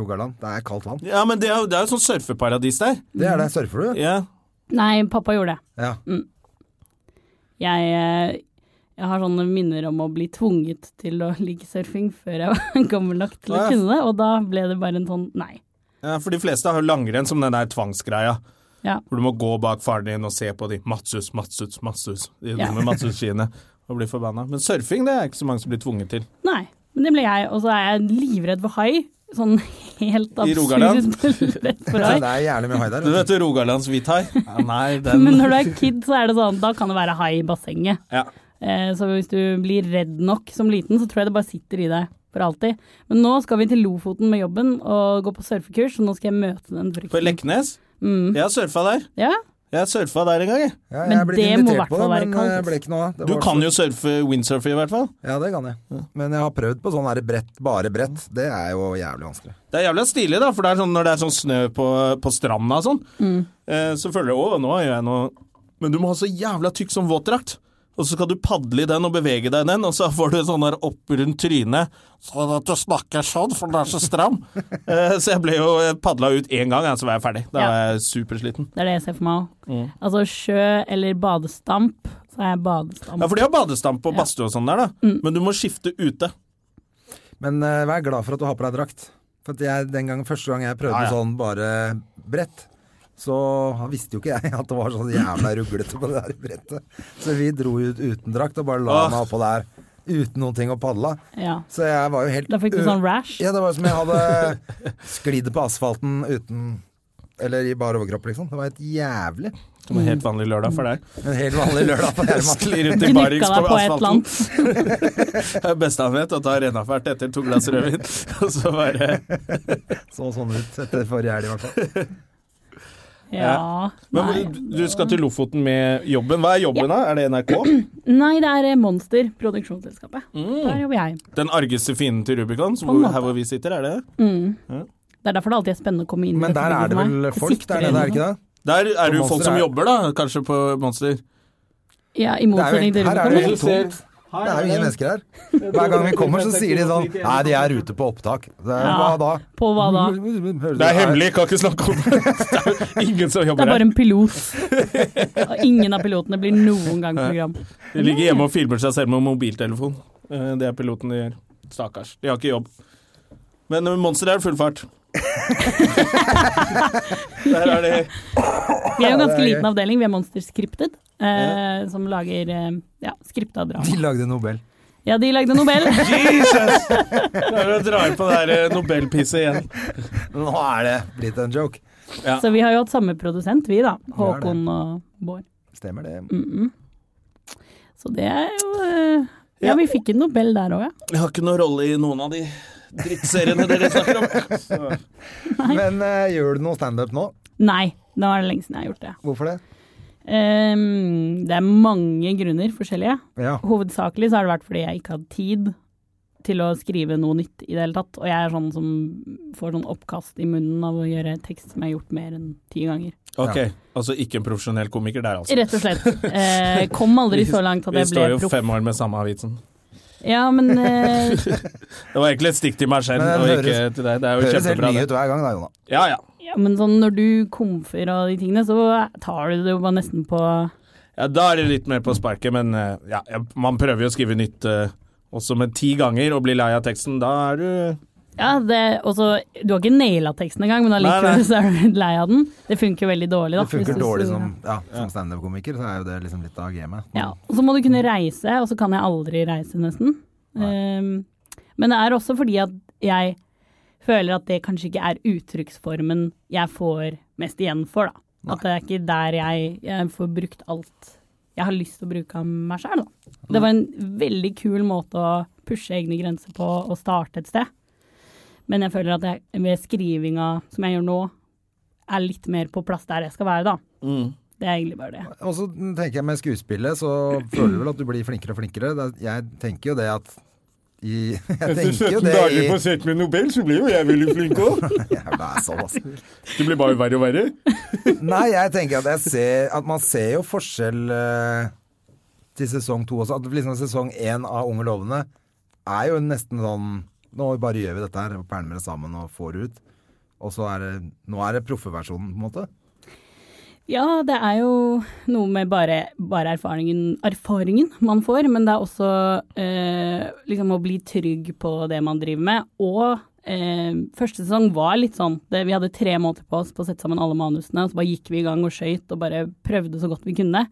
Rogaland, det er kaldt vann.
Ja, men det er jo, det er jo sånn surfeparadis der.
Det er det. Surfer du?
Ja.
Nei, pappa gjorde det.
Ja.
Jeg, eh, jeg har sånne minner om å bli tvunget til å like surfing før jeg var gammel nok til å
Å, ja.
kunne det, og da ble det bare en sånn nei.
ja, for de fleste har jo langrenn som den der tvangsgreia.
Ja.
Hvor du må gå bak faren din og se på de Matsus, Matsus, Matsus. De
Ja.
dumme Matsus-skiene. Og bli forbanna. Men surfing det er ikke så mange som blir tvunget til.
Nei, men det ble jeg, og så er jeg livredd for hai. Sånn helt
I Rogaland?
absurd redd for
Så
hai.
det er gjerne mye hai der.
Du vet jo Rogalands hvithai? Ja, nei, den
Men når du er kid, så er det sånn, da kan det være hai i bassenget.
ja.
Eh, Så hvis du blir redd nok som liten, så tror jeg det bare sitter i deg for alltid. Men nå skal vi til Lofoten med jobben og gå på surfekurs, så nå skal jeg møte den
På
frykten.
Leknes?
Mm.
Jeg har surfa der.
Ja,
Jeg surfa der en gang, jeg.
Ja,
Men
jeg er blitt
det må
invitert
i hvert
på
fall være
men
kaldt.
jeg ble ikke noe av. Det
Du
var-
kan jo surfe windsurfe, i hvert fall.
Ja, det kan jeg. Men jeg har prøvd på sånn her brett, bare brett. Det er jo jævlig vanskelig.
Det er jævlig stilig, da, for det er sånn, når det er sånn snø på, på stranda og sånn,
Mm.
eh, så føler jeg å, nå gjør jeg noe Men du må ha så jævla tykk som våtdrakt. Og så skal du padle i den og bevege deg i den, og så får du sånn der opp rundt trynet sånn at du snakker sånn, for den er så stram. eh, så jeg ble jo padla ut én gang, ja, så var jeg ferdig. Da
Ja.
var jeg supersliten.
Det er det jeg ser for meg òg.
Mm.
Altså sjø eller badestamp, så er jeg badestamp.
Ja, for de har badestamp og badstue og sånn der, da.
Mm.
Men du må skifte ute.
Men eh, vær glad for at du har på deg drakt. For at jeg, den gangen, første gang jeg prøvde
Ja, ja.
sånn bare brett, så visste jo ikke jeg at det var sånn jævla ruglete på det der brettet. Så vi dro ut uten drakt og bare la
Åh.
meg oppå der uten noen ting å padle.
Ja.
Så jeg var jo helt
Da fikk du
ø-
sånn rash.
Ja, det var som jeg hadde sklidd på asfalten uten Eller i bar overkropp, liksom. Det var helt jævlig.
Som en
Mm.
helt vanlig lørdag for deg.
En helt vanlig lørdag på Herman.
Sklir ut i
Knekka
barings
deg
på
på et eller
asfalten.
annet.
Det er beste han vet, å ta rennafert etter to glass rødvin, og så bare
Så sånn ut etter forrige helg, i hvert fall.
Ja.
Men
Nei.
hvor- du skal til Lofoten med jobben. Hva er jobben, da? Er det NRK?
Nei, det er eh, Monster, produksjonsselskapet.
Mm.
Der jobber jeg.
Den argeste fienden til Rubicon, som
På en
hvor,
måte.
her hvor vi sitter, er det det?
Mm. Det er derfor det alltid er spennende å komme inn. i
Men der
økonomien
er det
for meg.
vel folk
sitter
der nede, er det
noe.
ikke det?
Der er det jo
Monster
folk som
er-
jobber, da, kanskje på Monster.
Ja,
Det er
i
jo
motsetning
helt,
til
her er det jo
Rubicon.
helt tomt. Det er jo ingen mennesker her. Hver gang vi kommer, så sier de sånn Nei, de er ute på opptak. Det er, hva
Ja.
da?
På hva da?
Hører du-
kan ikke snakke om det. Det er jo ingen som
Det
jobber
er bare
her.
en pilot. Og ingen av pilotene blir noen gang program.
De ligger hjemme og filmer seg selv med mobiltelefon. Eh, Det er piloten de gjør. Stakkars. De har ikke jobb. Men eh, Monster er full fart. Der er de
Vi er jo en ganske
det er
liten
gøy.
avdeling, vi er Monster Scripted, eh, som lager eh, ja, skripta drama.
De lagde Nobel.
Ja, de lagde Nobel.
Jesus! Klarer å dra inn på det her eh, Nobelpisset igjen.
Nå er det blitt en joke.
Så vi har jo hatt samme produsent, vi da. Håkon og Bård.
Stemmer det.
Så det er jo eh, Ja, vi fikk en Nobel der òg, ja.
Jeg har ikke noen rolle i noen av de drittseriene dere snakker om.
Men eh, gjør du noe standup nå?
Nei, da er det lenge siden jeg har gjort det.
Hvorfor det?
Ehm, det er mange grunner, forskjellige.
Ja.
Hovedsakelig så har det vært fordi jeg ikke hadde tid til å skrive noe nytt i det hele tatt. Og jeg er sånn som får sånn oppkast i munnen av å gjøre tekst som jeg har gjort mer enn ti ganger.
Ok, altså ikke en profesjonell komiker der, altså.
Rett og slett. Eh, kom aldri så langt at
Vi
jeg
står
ble
jo
proff.
fem år med samme vitsen.
Ja, men eh,
Det var egentlig et stikk til meg selv,
Men
og
det
ikke
høres-
til deg. Det er jo
Høres helt
kjempebra.
ny
Det.
ut hver gang da, Jonna.
Ja, ja.
ja, men sånn når du komfer og de tingene, så tar du det jo bare nesten på
ja, da er det litt mer på sparket, men eh, ja, ja, man prøver jo å skrive nytt eh, også med ti ganger og blir lei av teksten. Da er du
Ja, det og så- Du har ikke naila teksten engang, men
Nei, nei.
allikevel så er du litt lei av den. Det funker jo veldig dårlig, da.
Det funker
hvis du-
dårlig som, ja, som standup-komiker, så er jo det liksom litt av gamet.
Ja, og så må du kunne reise, og så kan jeg aldri reise nesten. Ehm, men det er også fordi at jeg føler at det kanskje ikke er uttrykksformen jeg får mest igjen for, da. At det er ikke der jeg, jeg får brukt alt jeg har lyst til å bruke av meg sjøl, da. Det var en veldig kul måte å pushe egne grenser på og starte et sted. Men jeg føler at jeg, ved skrivinga som jeg gjør nå, er litt mer på plass der jeg skal være, da. Det er egentlig bare det.
Og så tenker jeg med skuespillet, så føler du vel at du blir flinkere og flinkere. Det er- Jeg tenker jo det at i, jeg tenker jo det i
sett med Nobel, så blir jo jeg veldig flink òg.
Jævla asshole, ass.
Du blir bare verre og verre.
Nei, jeg tenker at, jeg ser, at man ser jo forskjell eh, til sesong to også. At liksom sesong én av Unge lovende er jo nesten sånn Nå bare gjør vi dette her, og pælmer det sammen og får det ut. Og så er det Nå er det proffeversjonen, på en måte.
Ja, det er jo noe med bare, bare erfaringen, erfaringen man får, men det er også eh, liksom å bli trygg på det man driver med. Og eh, første sesong var litt sånn det, Vi hadde tre måneder på oss på å sette sammen alle manusene, og så bare gikk vi i gang og skøyt og bare prøvde så godt vi kunne.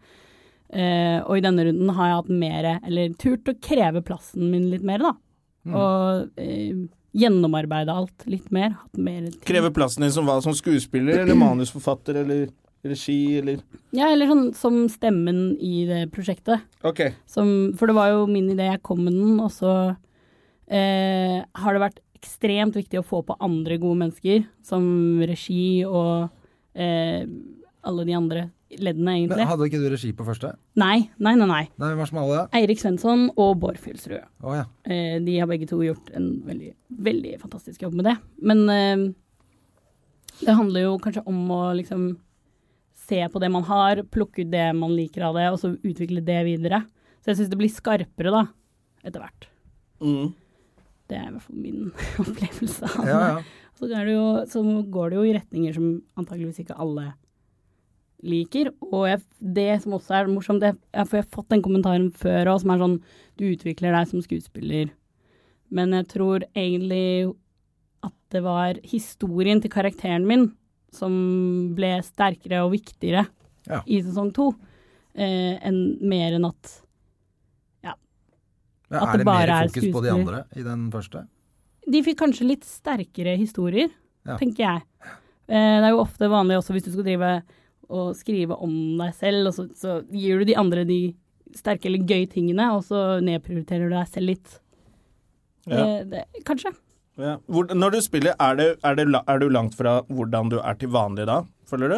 Eh, og i denne runden har jeg hatt mer, eller turt å kreve plassen min litt mer, da. Og eh, gjennomarbeide alt litt mer. Hatt mer tid.
Krever plassen din som hva? Som skuespiller eller manusforfatter eller regi eller
Ja, eller sånn som stemmen i det prosjektet.
Ok.
Som, for det var jo min idé, jeg kom med den, og så eh, har det vært ekstremt viktig å få på andre gode mennesker, som regi og eh, alle de andre leddene,
Men
egentlig.
hadde ikke du regi på første?
Nei, nei, nei. nei.
Nei, hvem var som alle?
Eirik Svensson og Bård Fylsrud.
Å ja.
Eh, de har begge to gjort en veldig, veldig fantastisk jobb med det. Men eh, det handler jo kanskje om å liksom se på det man har, plukke ut det man liker av det, og så utvikle det videre. Så jeg syns det blir skarpere, da, etter hvert.
Mm.
Det er i hvert fall min opplevelse av det.
ja, ja.
Så, er det jo, så går det jo i retninger som antageligvis ikke alle liker. Og jeg, det som også er morsomt, det er for jeg har fått den kommentaren før òg, som er sånn Du utvikler deg som skuespiller. Men jeg tror egentlig at det var historien til karakteren min som ble sterkere og viktigere
Ja.
i sesong to, eh, enn mer enn at
Ja,
At
er
det
det
bare
mer
er
fokus på de
skuespiller.
andre i den første?
De fikk kanskje litt sterkere historier,
Ja.
tenker jeg. Eh, Det er jo ofte vanlig også hvis du skal drive og skrive om deg selv, og så, så gir du de andre de sterke eller gøye tingene, og så nedprioriterer du deg selv litt.
Ja.
Eh, Det, kanskje.
Ja. Hvor, når du spiller, er, det, er, det, la- er du langt fra hvordan du er til vanlig da, føler du?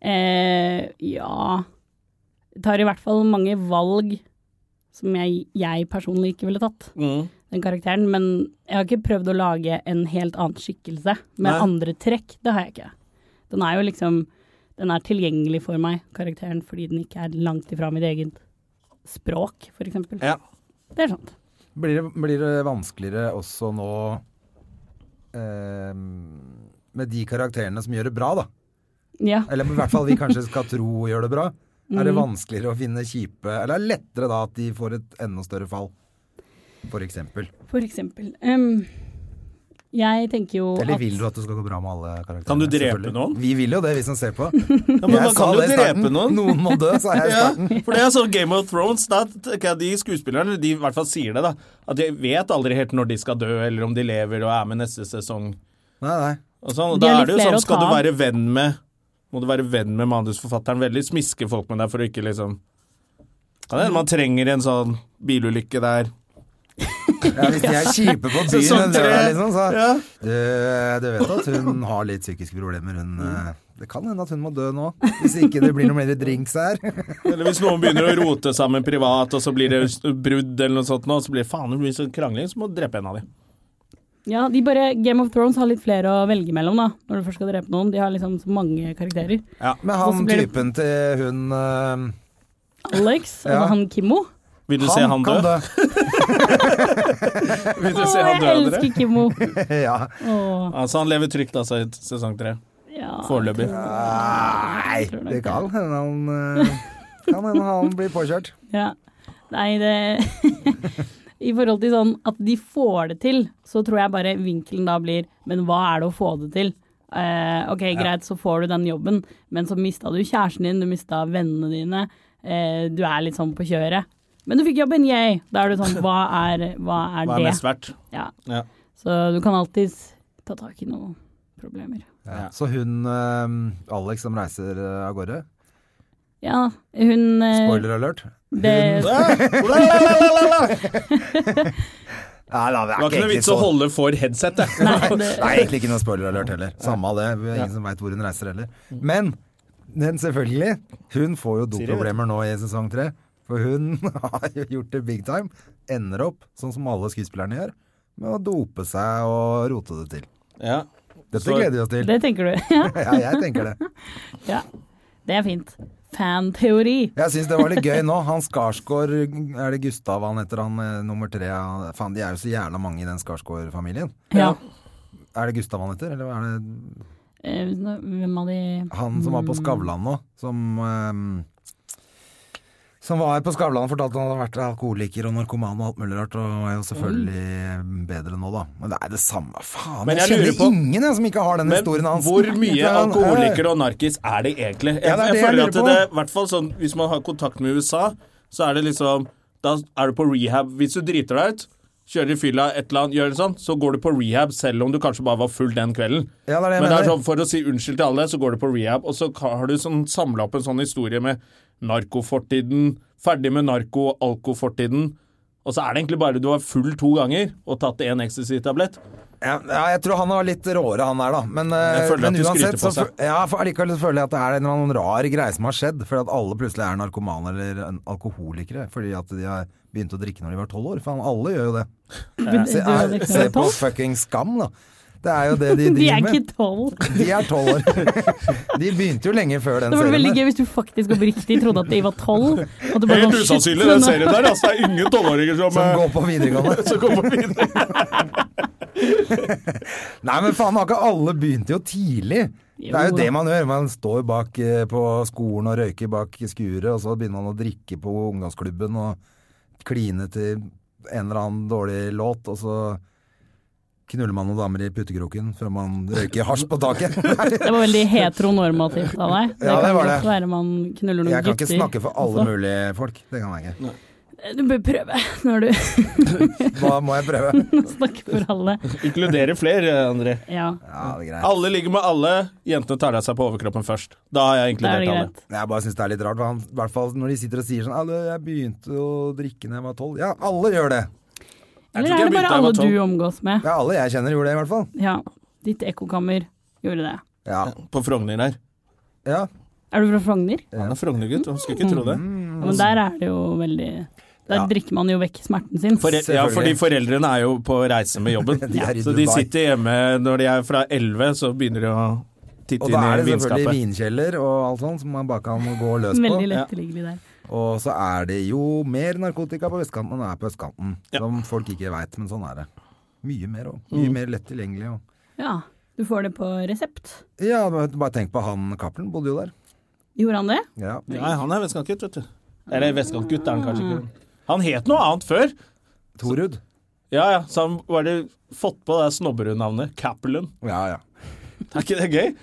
Eh, ja Jeg Tar i hvert fall mange valg som jeg, jeg personlig ikke ville tatt, den karakteren. Men jeg har ikke prøvd å lage en helt annen skikkelse med
Nei.
andre trekk. Det har jeg ikke. Den er jo liksom Den er tilgjengelig for meg, karakteren, fordi den ikke er langt ifra mitt eget språk, for eksempel.
Ja.
Det er sant.
Blir det, blir det vanskeligere også nå eh, med de karakterene som gjør det bra, da?
Ja.
Eller i hvert fall vi kanskje skal tro gjør det bra. Er det
Mm.
vanskeligere å finne kjipe Eller er det lettere da at de får et enda større fall, for eksempel?
For eksempel. Em, jeg tenker jo
Eller
at
vil du at det skal gå bra med alle karakterene?
Kan du drepe
selvfølgelig?
noen?
Vi vil jo det, vi som ser på.
Ja,
Jeg
men man
sa
kan jo
det i starten.
drepe noen.
Noen må dø, sa jeg i
Ja,
starten.
for det er sånn Game of Thrones, da tenker jeg de skuespillerne, de i hvert fall sier det da, at de vet aldri helt når de skal dø, eller om de lever og er med neste sesong.
Nei, nei.
Og sånn. og
De
da
har
er det
litt
jo
flere
sånn,
å
skal du
ta av.
være venn med, må du være venn med manusforfatteren veldig, smiske folk med deg for å ikke liksom Kan hende man trenger en sånn bilulykke der.
Ja, hvis de er kjipe på byen,
Sesong
hun dør,
tre.
liksom, så
Ja.
du, du vet at hun har litt psykiske problemer, hun
Mm.
eh, Det kan hende at hun må dø nå, hvis ikke det blir noe mer drinks her.
Eller hvis noen begynner å rote sammen privat, og så blir det brudd eller noe sånt, nå, og så blir det faen, det blir sånn krangling, så må du drepe en av dem.
Ja, de bare, Game of Thrones har litt flere å velge mellom, da. Når du først skal drepe noen. De har liksom så mange karakterer.
Men
Og
han
så blir det-
typen til hun eh,
Alex,
Ja.
altså han Kimmo.
Vil du se han dø?
kan dø.
Vil du
Å,
se han
jeg
dø, dere?
elsker Kimmo!
ja.
Åh,
Altså, han lever trygt altså, i sesong tre.
ja.
Foreløpig.
Nei,
tror nok
det
det.
kan hende han eh, Kan hende han blir påkjørt.
Ja. Nei, det I forhold til sånn at de får det til, så tror jeg bare vinkelen da blir Men hva er det å få det til? Eh, ok, greit, så får du den jobben, men så mista du kjæresten din, du mista vennene dine. eh, du er litt sånn på kjøret. Men du fikk jobben, yay! Da er du sånn Hva er, hva er
Hva er
det?
mest verdt?
Ja.
Ja.
Så du kan alltids ta tak i noen problemer.
Ja. Så hun eh, Alex som reiser eh, av gårde
Ja, hun eh,
Spoiler alert.
Det,
Det
Nei, da, det
var ikke noe
egentlig
vits å
så-
holde for headsetet.
Nei, egentlig ikke noe spoiler alert heller. Samme av det, vi er ingen som veit hvor hun reiser heller.
Mm.
Men, men selvfølgelig, hun får jo doproblemer nå i sesong tre. For hun har jo gjort det big time. Ender opp, sånn som alle skuespillerne gjør, med å dope seg og rote det til.
Ja.
Dette
Så-
gleder vi oss til.
det tenker du. Ja,
Ja, jeg tenker det.
ja. Det er fint. Fanteori.
Jeg syns det var litt gøy nå. Han Skarsgård, er det Gustav han heter, han eh, nummer tre? han- Faen, de er jo så jævla mange i den Skarsgård-familien.
Ja.
Er det Gustav han heter, eller er det
Eh, nå- Hvem av de
Han som var
Mm.
på Skavlan nå, som ehm, Som var på Skavlan og fortalte at han hadde vært alkoholiker og narkoman og alt mulig rart, og er jo selvfølgelig bedre nå, da. Men det er det samme, faen.
Men
Jeg,
jeg lurer
kjenner
på-
ingen jeg, som ikke har den
Men
historien hans.
hvor mye alkoholiker og narkis er det egentlig? Jeg,
Ja, det er det
jeg
jeg
føler
lurer
at
på.
det, i hvert fall sånn, Hvis man har kontakt med USA, så er det liksom Da er du på rehab. Hvis du driter deg ut, kjører i fylla, et eller annet, gjør det sånn, så går du på rehab selv om du kanskje bare var full den kvelden.
Ja, det er det jeg
Men det er
mener.
sånn, for å si unnskyld til alle, så går du på rehab, og så har du sånn, samla opp en sånn historie med narkofortiden, ferdig med narko- og alkofortiden. Og så er det egentlig bare du var full to ganger og tatt én ecstasy-tablett.
Ja, ja, jeg tror han var litt råere, han der, da. Men, eh,
Jeg føler
men
at du
uansett,
skryter på
så
seg.
fø- ja, for allikevel så føler jeg at det er en eller annen rar greie som har skjedd. Fordi at alle plutselig er narkomane eller en- alkoholikere fordi at de har begynt å drikke når de var tolv år. Faen, alle gjør jo det. Se,
Du- du-
er, se på
tolv?
fucking skam, da. Det er jo det de
De er
driver med.
ikke tolv.
De er tolv år. De begynte jo lenge før den
Det var veldig
serien.
gøy
der.
hvis du faktisk oppriktig trodde at de var tolv. og du bare
Helt
sånn, shit,
usannsynlig, den
nå-
serien der. Altså, det er ingen tolvåringer som,
Som
eh,
går på videregående.
som kommer videre.
Nei, men faen, har ikke alle begynte jo tidlig? Det er
Jo.
jo det man gjør. Man står bak eh, på skolen og røyker bak skuret, og så begynner man å drikke på ungdomsklubben og kline til en eller annen dårlig låt, og så knuller man noen damer i puttekroken før man røyker hasj på taket.
Det var veldig heteronormativt av deg.
Ja, det
kan
var
godt
det.
være man knuller noen
Jeg kan ikke
gutter. Altså.
snakke for alle
også.
mulige folk. Det kan jeg ikke.
Du bør prøve når du
Da må jeg prøve.
snakker for alle.
Inkludere flere, André.
Ja,
Ja, det er greit.
Alle ligger med alle. Jentene tar av seg på overkroppen først. Da har jeg
da er
inkludert
det
alle.
greit.
Jeg bare syns det er litt rart. for han- I hvert fall når de sitter og sier sånn «Alle, Jeg begynte å drikke da jeg var tolv. Ja, alle gjør det.
tror
Eller er
ikke
det
jeg
bare
begynte da jeg var
alle
tolv.
du omgås med?
Ja, alle jeg kjenner gjorde det, i hvert fall.
Ja. Ditt ekkokammer gjorde det.
Ja.
På Frogner her.
ja.
Er du fra Frogner?
Han er Frogner-gutt, han skulle ikke tro det.
Mm,
Ja, men der er det jo veldig Der
Ja.
drikker man jo vekk smerten sin.
Forel- ja,
Selvfølgelig.
fordi foreldrene er jo på reise med jobben.
De er i
så de
Dubai.
sitter hjemme når de er fra 11, så begynner de å titte
Og
inn
da er det
i
selvfølgelig
vinskapet.
vinkjeller og alt sånt som man bare kan gå løs
Veldig
på.
ja.
lett tilgjengelig der.
Og så er det jo mer narkotika på vestkanten enn det er på østkanten.
Ja.
Som folk ikke veit, men sånn er det. Mye mer òg.
Mm.
Mye mer lett tilgjengelig og
Ja. Du får det på resept.
Ja, men bare tenk på han Cappelen, bodde jo der.
Gjorde han det?
Ja.
Nei, han er vestkantgutt, vet du. Eller vestkantgutt er han kanskje ikke. Han het noe annet før.
Torud.
Ja ja, så han var det fått på det snobberud-navnet. Cappelen.
Ja, ja.
Er ikke det gøy?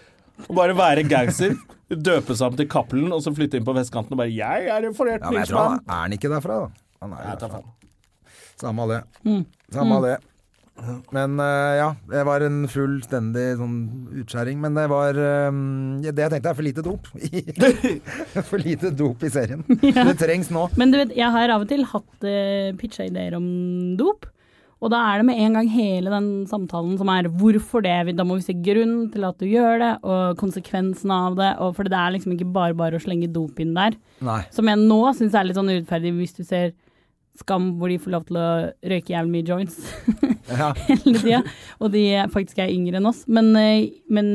Å bare være gangster, døpe seg om til Cappelen, og så flytte inn på vestkanten og bare 'Jeg
ja
er en
men jeg tror
forretningsmann'.
han er han ikke derfra, da. Han er jo
Nei, ta
derfra.
Mm.
faen.
Samme av det. Samme av det. Men eh, ja, det var en fullstendig sånn utskjæring. Men det var eh, Det jeg tenkte er for lite dop. i- for lite dop i serien. Det trengs nå.
Men du vet, jeg har av og til hatt uh, pitcha ideer om dop. Og da er det med en gang hele den samtalen som er hvorfor det, da må vi se grunnen til at du gjør det, og konsekvensen av det, og for det er liksom ikke bare bare å slenge dop inn der.
Nei.
Som jeg nå syns er litt sånn urettferdig, hvis du ser Skam hvor de får lov til å røyke jævlig mye joints
Ja.
hele tida, og de er- faktisk er yngre enn oss. Men, eh, men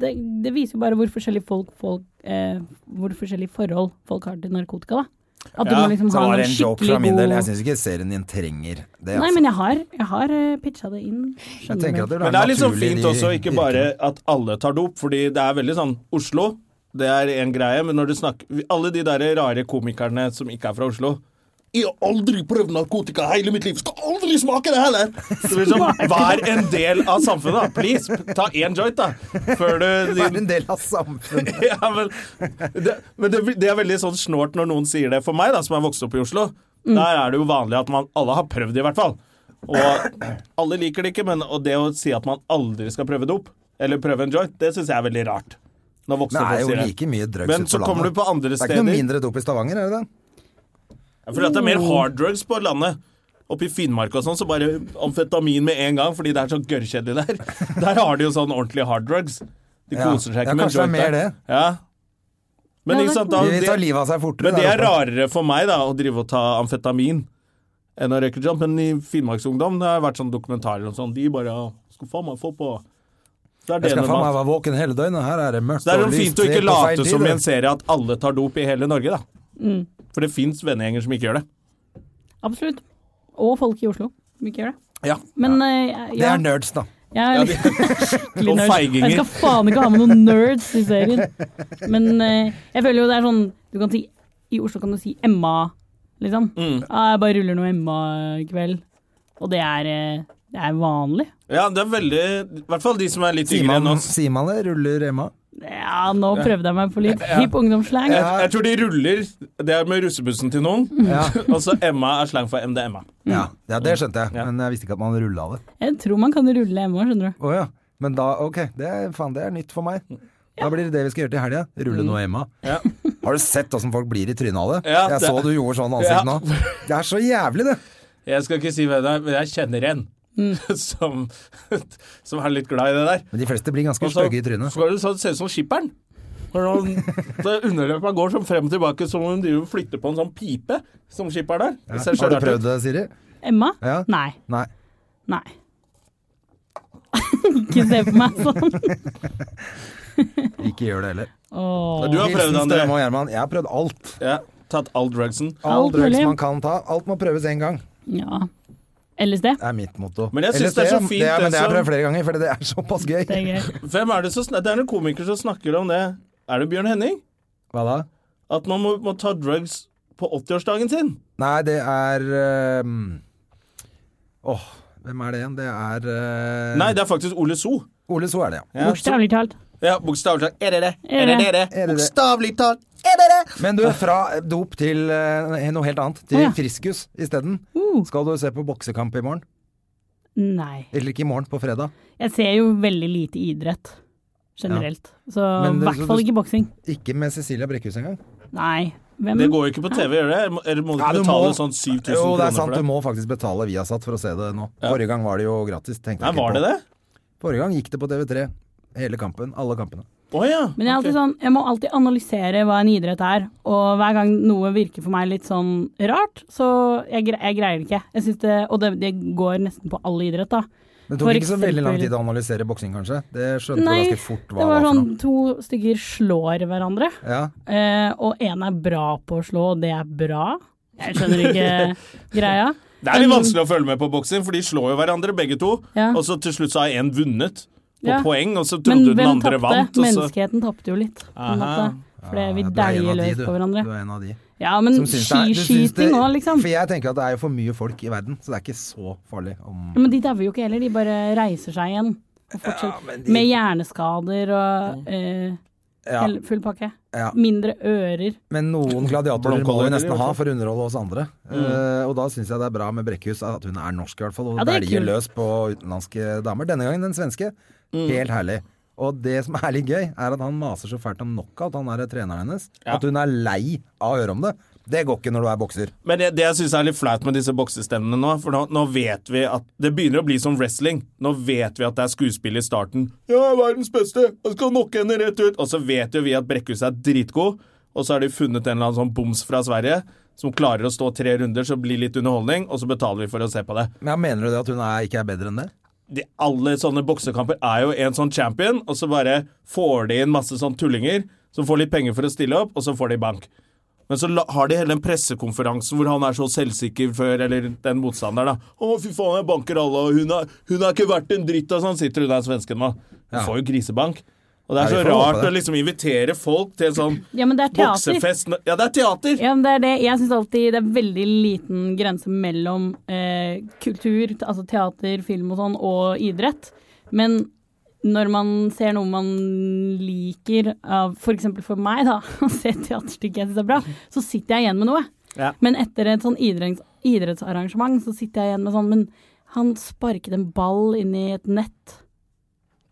det, det viser jo bare hvor forskjellige, folk, folk, eh, hvor forskjellige forhold folk har til narkotika, da. At du
Ja,
må liksom
Så
ha
var
en
det en joke fra
skikkelig
min del. Jeg
god
syns ikke serien din trenger det.
Nei,
altså.
men jeg har, jeg har eh, pitcha det inn.
Jeg
skjønner
tenker
du.
at det,
Men det er liksom
naturlig
fint
i-
også, ikke
i-
bare at alle tar dop, fordi det er veldig sånn Oslo, det er en greie, men når du snakker Alle de der rare komikerne som ikke er fra Oslo jeg har aldri prøvd narkotika i hele mitt liv. Skal aldri smake det heller! Så det blir sånn, Vær en del av samfunnet, da. Please, ta én joint, da. Før du
Være en del av samfunnet.
ja, men det, men det, det er veldig sånn snålt når noen sier det. For meg, da, som er vokst opp i Oslo, der er det jo vanlig at man alle har prøvd det, i hvert fall. Og alle liker det ikke, men og det å si at man aldri skal prøve dop, eller prøve en joint, det syns jeg er veldig rart. Når
Men
voksne
det er
folk
jo
sier det.
like mye drugs
Men
ute
så kommer du på andre
Det er ikke noe
steder.
mindre dop i Stavanger, er det det?
Fordi at det er mer hard drugs på landet. Oppe i Finnmark og sånn, så bare amfetamin med en gang, fordi det er så gørrkjedelig der. Der har de jo sånn ordentlig hard drugs. De
Ja.
koser seg
Ja,
ikke med en
kanskje det er
joint.
mer
der.
det.
Ja. Men
Ja, det
ikke sant, da,
De
det-
tar livet av seg fortere.
Men det
der
er
oppe.
rarere for meg da å drive og ta amfetamin enn å røyke joint. Men i Finnmarksungdom det har vært sånn dokumentarer og sånn. De bare ja, skal faen meg få på. Så er det
Jeg skal faen meg
normalt.
være våken hele døgnet. Her er det mørkt
Så det er
og
sånn
lyst,
fint å
helt på
ikke
feil
late
tid,
som i
det.
en serie at alle tar dop i hele Norge, da.
Mm.
For det fins vennegjenger som ikke gjør det.
Absolutt. Og folk i Oslo som ikke gjør det.
Ja.
Men eh,
Det
ja,
er nerds, da.
jeg er litt skikkelig
Og
nerd.
feiginger.
Jeg skal faen ikke ha med noen nerds i serien. Men eh, jeg føler jo det er sånn Du kan si I Oslo kan du si Emma, liksom. Ah, jeg bare ruller noe Emma i kveld. Og det er, eh, det er vanlig.
ja, det er veldig I hvert fall de som er litt yngre enn
Siman,
oss. Mm.
Siman det ruller Emma.
Ja, nå prøvde jeg meg på litt hipp ungdomsslang.
Jeg, jeg tror de ruller. Det er med russebussen til noen.
Mm. Ja.
Og så Emma er slang for MDMA.
Ja, ja, det skjønte jeg,
Mm. Ja.
men jeg visste ikke at man rulla det.
Jeg tror man kan rulle Emma, skjønner du.
Å ja. Men da, ok, det er, faen, det er nytt for meg. Da blir det det vi skal gjøre til helga. Rulle noe Emma.
Mm. Ja.
Har du sett åssen folk blir i trynet av det?
Ja,
jeg
det-
så du gjorde sånn ansikt
Ja.
nå. Det er så jævlig, det.
Jeg skal ikke si hvem det er, men jeg kjenner en
Mm.
som, som er litt glad i det der.
Men de fleste blir ganske
Og så
stygge i trynet.
Skal du så se ut som skipperen? Underløpet går sånn frem og tilbake som om hun driver og flytter på en sånn pipe som skipper der. Det ser
Har
så
du
rart ut.
prøvd det, Siri?
Emma?
Ja.
Nei.
Nei.
Nei. ikke se på meg sånn.
Ikke gjør det heller.
Åh.
Du har prøvd det,
Hilsen
André.
Strømme og Gjerman. Jeg har prøvd alt.
Ja, tatt all drugsen.
All
Alt
drugs
mulig.
man kan ta. Alt må prøves én gang.
Ja. LSD?
er mitt motto.
Men jeg synes det er så
Det
fint, altså.
er,
det
men det har jeg
som-
prøvd flere ganger, for det er såpass gøy.
Det er gøy.
Hvem er det som snak- Det er en komiker som snakker om det. Er det Bjørn Henning?
Hva da?
At man må, må ta drugs på 80-årsdagen sin?
Nei, det er ehm, Åh, hvem er det igjen? Det er eh,
Nei, det er faktisk Ole So.
Ole So er det, ja.
Ja, så-
Bokstavelig talt.
ja Bokstavelig talt. Er det det? Er det
det?
det?
Er det det?
Bokstavelig talt. Er det det?
Men du, fra dop til eh, noe helt annet. Til
Å, ja.
friskus isteden.
Uh,
Skal du se på boksekamp i morgen?
nei.
Eller ikke i morgen, på fredag.
Jeg ser jo veldig lite idrett generelt. Så
Men
i
det-
hvert fall ikke boksing.
Ikke med Cecilia Brekkhus engang.
Nei. Hvem?
Det går jo ikke på TV, gjør det? Eller må du
Ja, du
ikke betale
må-
sånn 7000
Jo,
kroner
det er sant,
for
du
det?
må faktisk betale Viasat for å se det nå.
Ja.
Forrige gang var det jo gratis. tenkte
Nei,
jeg ikke
var det
på.
det?
Forrige gang gikk det på TV3. Hele kampen. Alle kampene.
Å ja.
Men jeg, er
ok.
alltid sånn, jeg må alltid analysere hva en idrett er, og hver gang noe virker for meg litt sånn rart, så jeg, gre jeg greier det ikke. Jeg synes det, og det, det går nesten på all idrett, da.
Det
For
tok ikke så veldig lang
eksempel-
tid å analysere boksing, kanskje. Det skjønte
Nei,
du ganske fort hva
det
det
var
var
sånn
for noe.
to stykker slår hverandre,
Ja.
eh, og en er bra på å slå, og det er bra. Jeg skjønner ikke greia.
Det er litt vanskelig å følge med på boksing, for de slår jo hverandre begge to.
Ja.
Og så til slutt så har én vunnet på
Ja.
poeng, og
Men
så trodde den
hvem
andre
tapte?
vant. Og så,
Menneskeheten tapte jo litt, på en
Aha.
måte. Fordi vi
Ja, du er en av
dæljer
de,
løs
du.
på hverandre.
Du er en av de.
Ja, men
som syns det er- du syns det-
skiskyting òg, liksom.
For jeg tenker at det er jo for mye folk i verden, så det er ikke så farlig om
Ja, men de dauer jo ikke heller, de bare reiser seg igjen. Og fortsetter. Med hjerneskader og eh,
Ja.
Hele- Full pakke.
Ja.
Mindre ører.
Men noen gladiatorer må vi
Blomkåler,
nesten
eller?
ha for å underholde oss andre.
Mm.
Eh, og da syns jeg det er bra med Brekkhus at hun er norsk, i hvert fall. Og
Ja, det er
velger
kult. Mm.
løs på utenlandske damer. Denne gangen den svenske. Helt herlig. Og det som er litt gøy, er at han maser så fælt om knockout, han er treneren hennes. At hun er lei av å høre om det. Det går ikke når du er bokser.
Men det, det jeg syns er litt flaut med disse boksestemmene nå, for nå, nå vet vi at Det begynner å bli som wrestling. Nå vet vi at det er skuespill i starten. 'Jeg er verdens beste! Jeg skal knocke henne rett ut!' Og så vet jo vi at Brekkhus er dritgod, og så har de funnet en eller annen sånn boms fra Sverige som klarer å stå tre runder, så det blir litt underholdning, og så betaler vi for å se på det.
Men ja, Mener du det at hun er, ikke er bedre enn det?
de, alle sånne boksekamper er jo en sånn champion, og så bare får de inn masse sånn tullinger som får litt penger for å stille opp, og så får de bank. Men så la, har de hele den pressekonferansen hvor han er så selvsikker før, eller den motstanderen, da. 'Å, fy faen, jeg banker alle, og hun er, hun er ikke verdt en dritt', og sånn sitter hun der svensken nå.
Ja.
Hun får jo grisebank. Og det
Ja,
er så
vi får håpe
rart å
det.
liksom invitere folk til en sånn
Ja, men det er teater.
boksefest når- Ja, det er teater!
Ja, men det er det. Jeg syns alltid det er veldig liten grense mellom eh, kultur, t- altså teater, film og sånn, og idrett. Men når man ser noe man liker, av f.eks. For, for meg, da, å se et teaterstykke jeg syns er bra, så sitter jeg igjen med noe.
Ja.
Men etter et sånn idretts, idrettsarrangement så sitter jeg igjen med sånn Men han sparket en ball inn i et nett.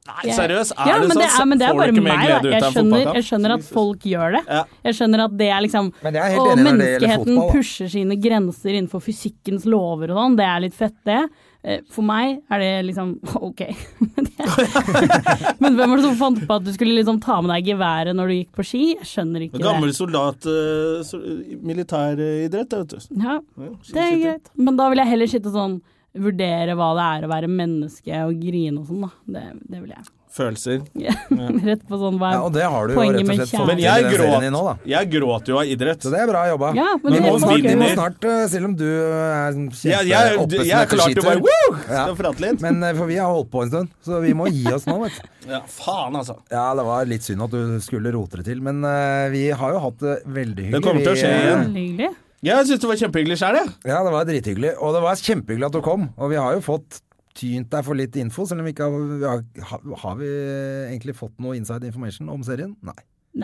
Nei, seriøst, er
ja,
det
men
sånn?
det er, men det er
får du
bare
ikke mer
meg, da.
glede ut
Jeg
av en
skjønner,
fotballkamp?
jeg skjønner at folk gjør det.
Ja.
Jeg skjønner at det er liksom
Men jeg er helt
Og
enig når det gjelder
menneskeheten
fotball.
pusher sine grenser innenfor fysikkens lover og sånn. Det er litt fett, det. Eh, For meg er det liksom OK. Men det- Men hvem var det som fant på at du skulle liksom ta med deg geværet når du gikk på ski? Jeg skjønner ikke
Gammel
det.
soldat, eh, sol- militæridrett, det, vet du.
Ja, det er
Skyting.
greit. Men da vil jeg heller sitte sånn Vurdere hva det er å være menneske og grine og sånn, da. Det, det vil jeg.
Følelser.
Rett på sånn hva
Ja, og det har du jo rett
Poenget
og
med
slett
kjærlighet.
fått
Men
til i
jeg
den serien
gråt,
din nå, da.
jeg gråt jo av idrett.
Så det er bra jobba.
Ja, men
vi,
det
må
er
snart, vi må
vinner.
snart, eh, selv om du eh, er sånn
Jeg,
kjempe-
jeg,
oppe
jeg,
som
jeg
etter
klarte
skitur.
bare Woo!
Ja.
Skal prate litt.
Men eh, for vi har holdt på en stund, så vi må gi oss nå, vet du.
Ja, faen, altså.
Ja, det var litt synd at du skulle rote det til, men eh, vi har jo hatt det veldig hyggelig.
Det kommer til å
Vi,
skje
eh,
igjen.
veldig hyggelig.
Jeg syns det var kjempehyggelig sjøl, jeg.
Ja, det var drithyggelig. Og det var kjempehyggelig at du kom. Og vi har jo fått tynt deg for litt info, selv om vi ikke har vi har, har vi egentlig fått noe inside information om serien? Nei.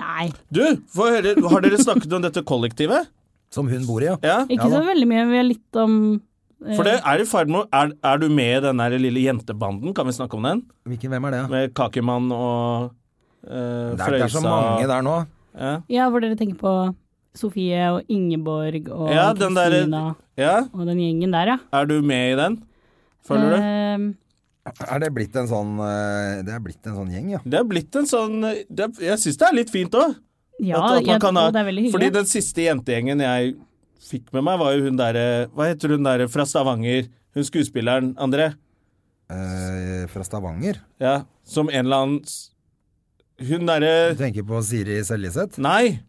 Nei,
Du, få høre, har dere snakket om dette kollektivet?
Som hun bor i, ja.
Ja.
ikke så
da.
veldig mye. Vi har litt om eh,
For det er i ferd med å er, er du med i den der lille jentebanden? Kan vi snakke om den?
Hvilken, hvem er det?
Med Kakimann og eh,
Det er, det er så
Frøysa.
mange der nå.
Ja.
Ja, hvor dere tenker på Sofie og Ingeborg og
Ja, den der-
Kristina
ja.
og den gjengen der, ja.
Er du med i den? Føler du?
Ehm,
Er det blitt en sånn eh, Det er blitt en sånn gjeng, ja.
Det er blitt en sånn det er, Jeg syns det er litt fint òg.
ja,
At- at man
jeg,
kan ha-
og det er veldig hyggelig.
Fordi den siste jentegjengen jeg fikk med meg, var jo hun derre Hva heter hun derre fra Stavanger? Hun skuespilleren, André?
Eh, fra Stavanger.
Ja, som en eller annen s- Hun
Du
derre
tenker på Siri Seljeseth?
Nei!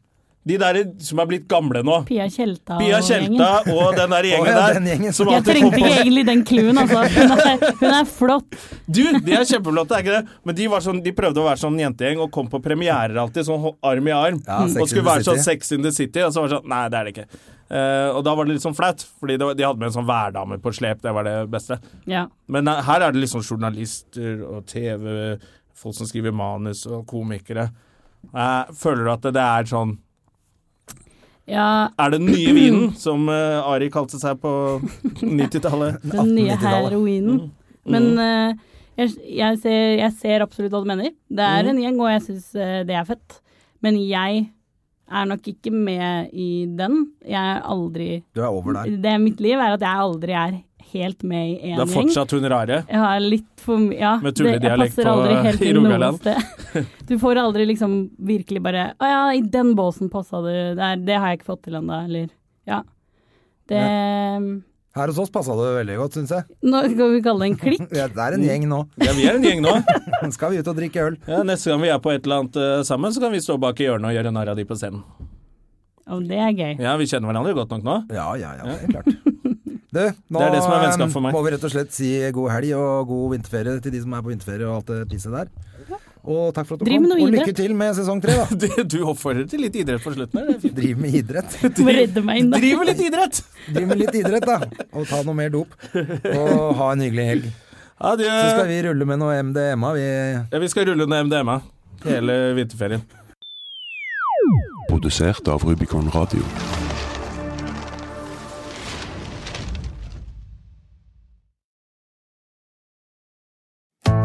De derre som er blitt gamle nå.
Pia Tjelta
Pia
og gjengen.
Tjelta og den der gjengen
Å, ja,
der.
den gjengen.
Som
Jeg
alltid kom
trengte
på
ikke egentlig den clouen, altså. Hun er, hun er flott.
Du, de er kjempeflotte, er ikke det? Men de, var sånn, de prøvde å være sånn jentegjeng og kom på premierer alltid, sånn hå- arm i arm.
Ja, Sex in
og skulle
the
være sånn
City.
Sex in the City, og så var det sånn Nei, det er det ikke. Eh, og da var det litt sånn flaut, fordi det var, de hadde med en sånn værdame på slep, det var det beste.
Ja.
Men eh, her er det liksom journalister og TV, folk som skriver manus og komikere. Eh, føler du at det, det er sånn
ja,
Er det den nye vinen, som eh, Ari kalte seg på 90-tallet?
den nye
1890-tallet.
heroinen.
Mm.
Men eh, jeg, jeg, ser, jeg ser absolutt hva du mener. Det
Mm.
er en gjeng, og jeg syns det er fett. Men jeg er nok ikke med i den. Jeg er aldri
Du er over der.
Det mitt liv er at jeg aldri er helt med i
Det
én
er
gjeng.
fortsatt hun rare.
Jeg har litt for mye ja,
Med
det- jeg
tulledialekt
passer
på-
aldri helt
i
inn noe
Rogaland.
sted. Du får aldri liksom virkelig bare Å ja, i den båsen passa du. Det, er, det har jeg ikke fått til ennå, eller Ja. Det ehm,
Her hos oss passa det veldig godt, syns jeg.
Nå skal vi kalle det en klikk.
Ja, Det er en gjeng nå.
Ja, vi er en gjeng nå.
Skal vi ut og drikke øl?
Ja, Neste gang vi er på et eller annet eh, sammen, så kan vi stå bak i hjørnet og gjøre narr av de på scenen.
Og det er gøy.
Ja, Vi kjenner hverandre godt nok nå.
Ja, ja, ja, det er klart. Du, nå
Det er det som er vennskap for meg.
eh, må vi rett og slett si god helg og god vinterferie til de som er på vinterferie og alt det pisset der. Og takk for at du
Driv
kom,
med noe
og lykke
idrett.
til med sesong tre, da.
Du, du oppfordrer til litt idrett på slutten her. det er fint.
Driv med idrett.
Du må redde meg inn da.
Driv med litt idrett!
Driv med litt idrett, da. Og ta noe mer dop. Og ha en hyggelig helg.
Adjø.
Så skal vi rulle med noe MDMA, vi.
Ja, vi skal rulle ned MDMA hele vinterferien.
produsert av Rubicon Radio.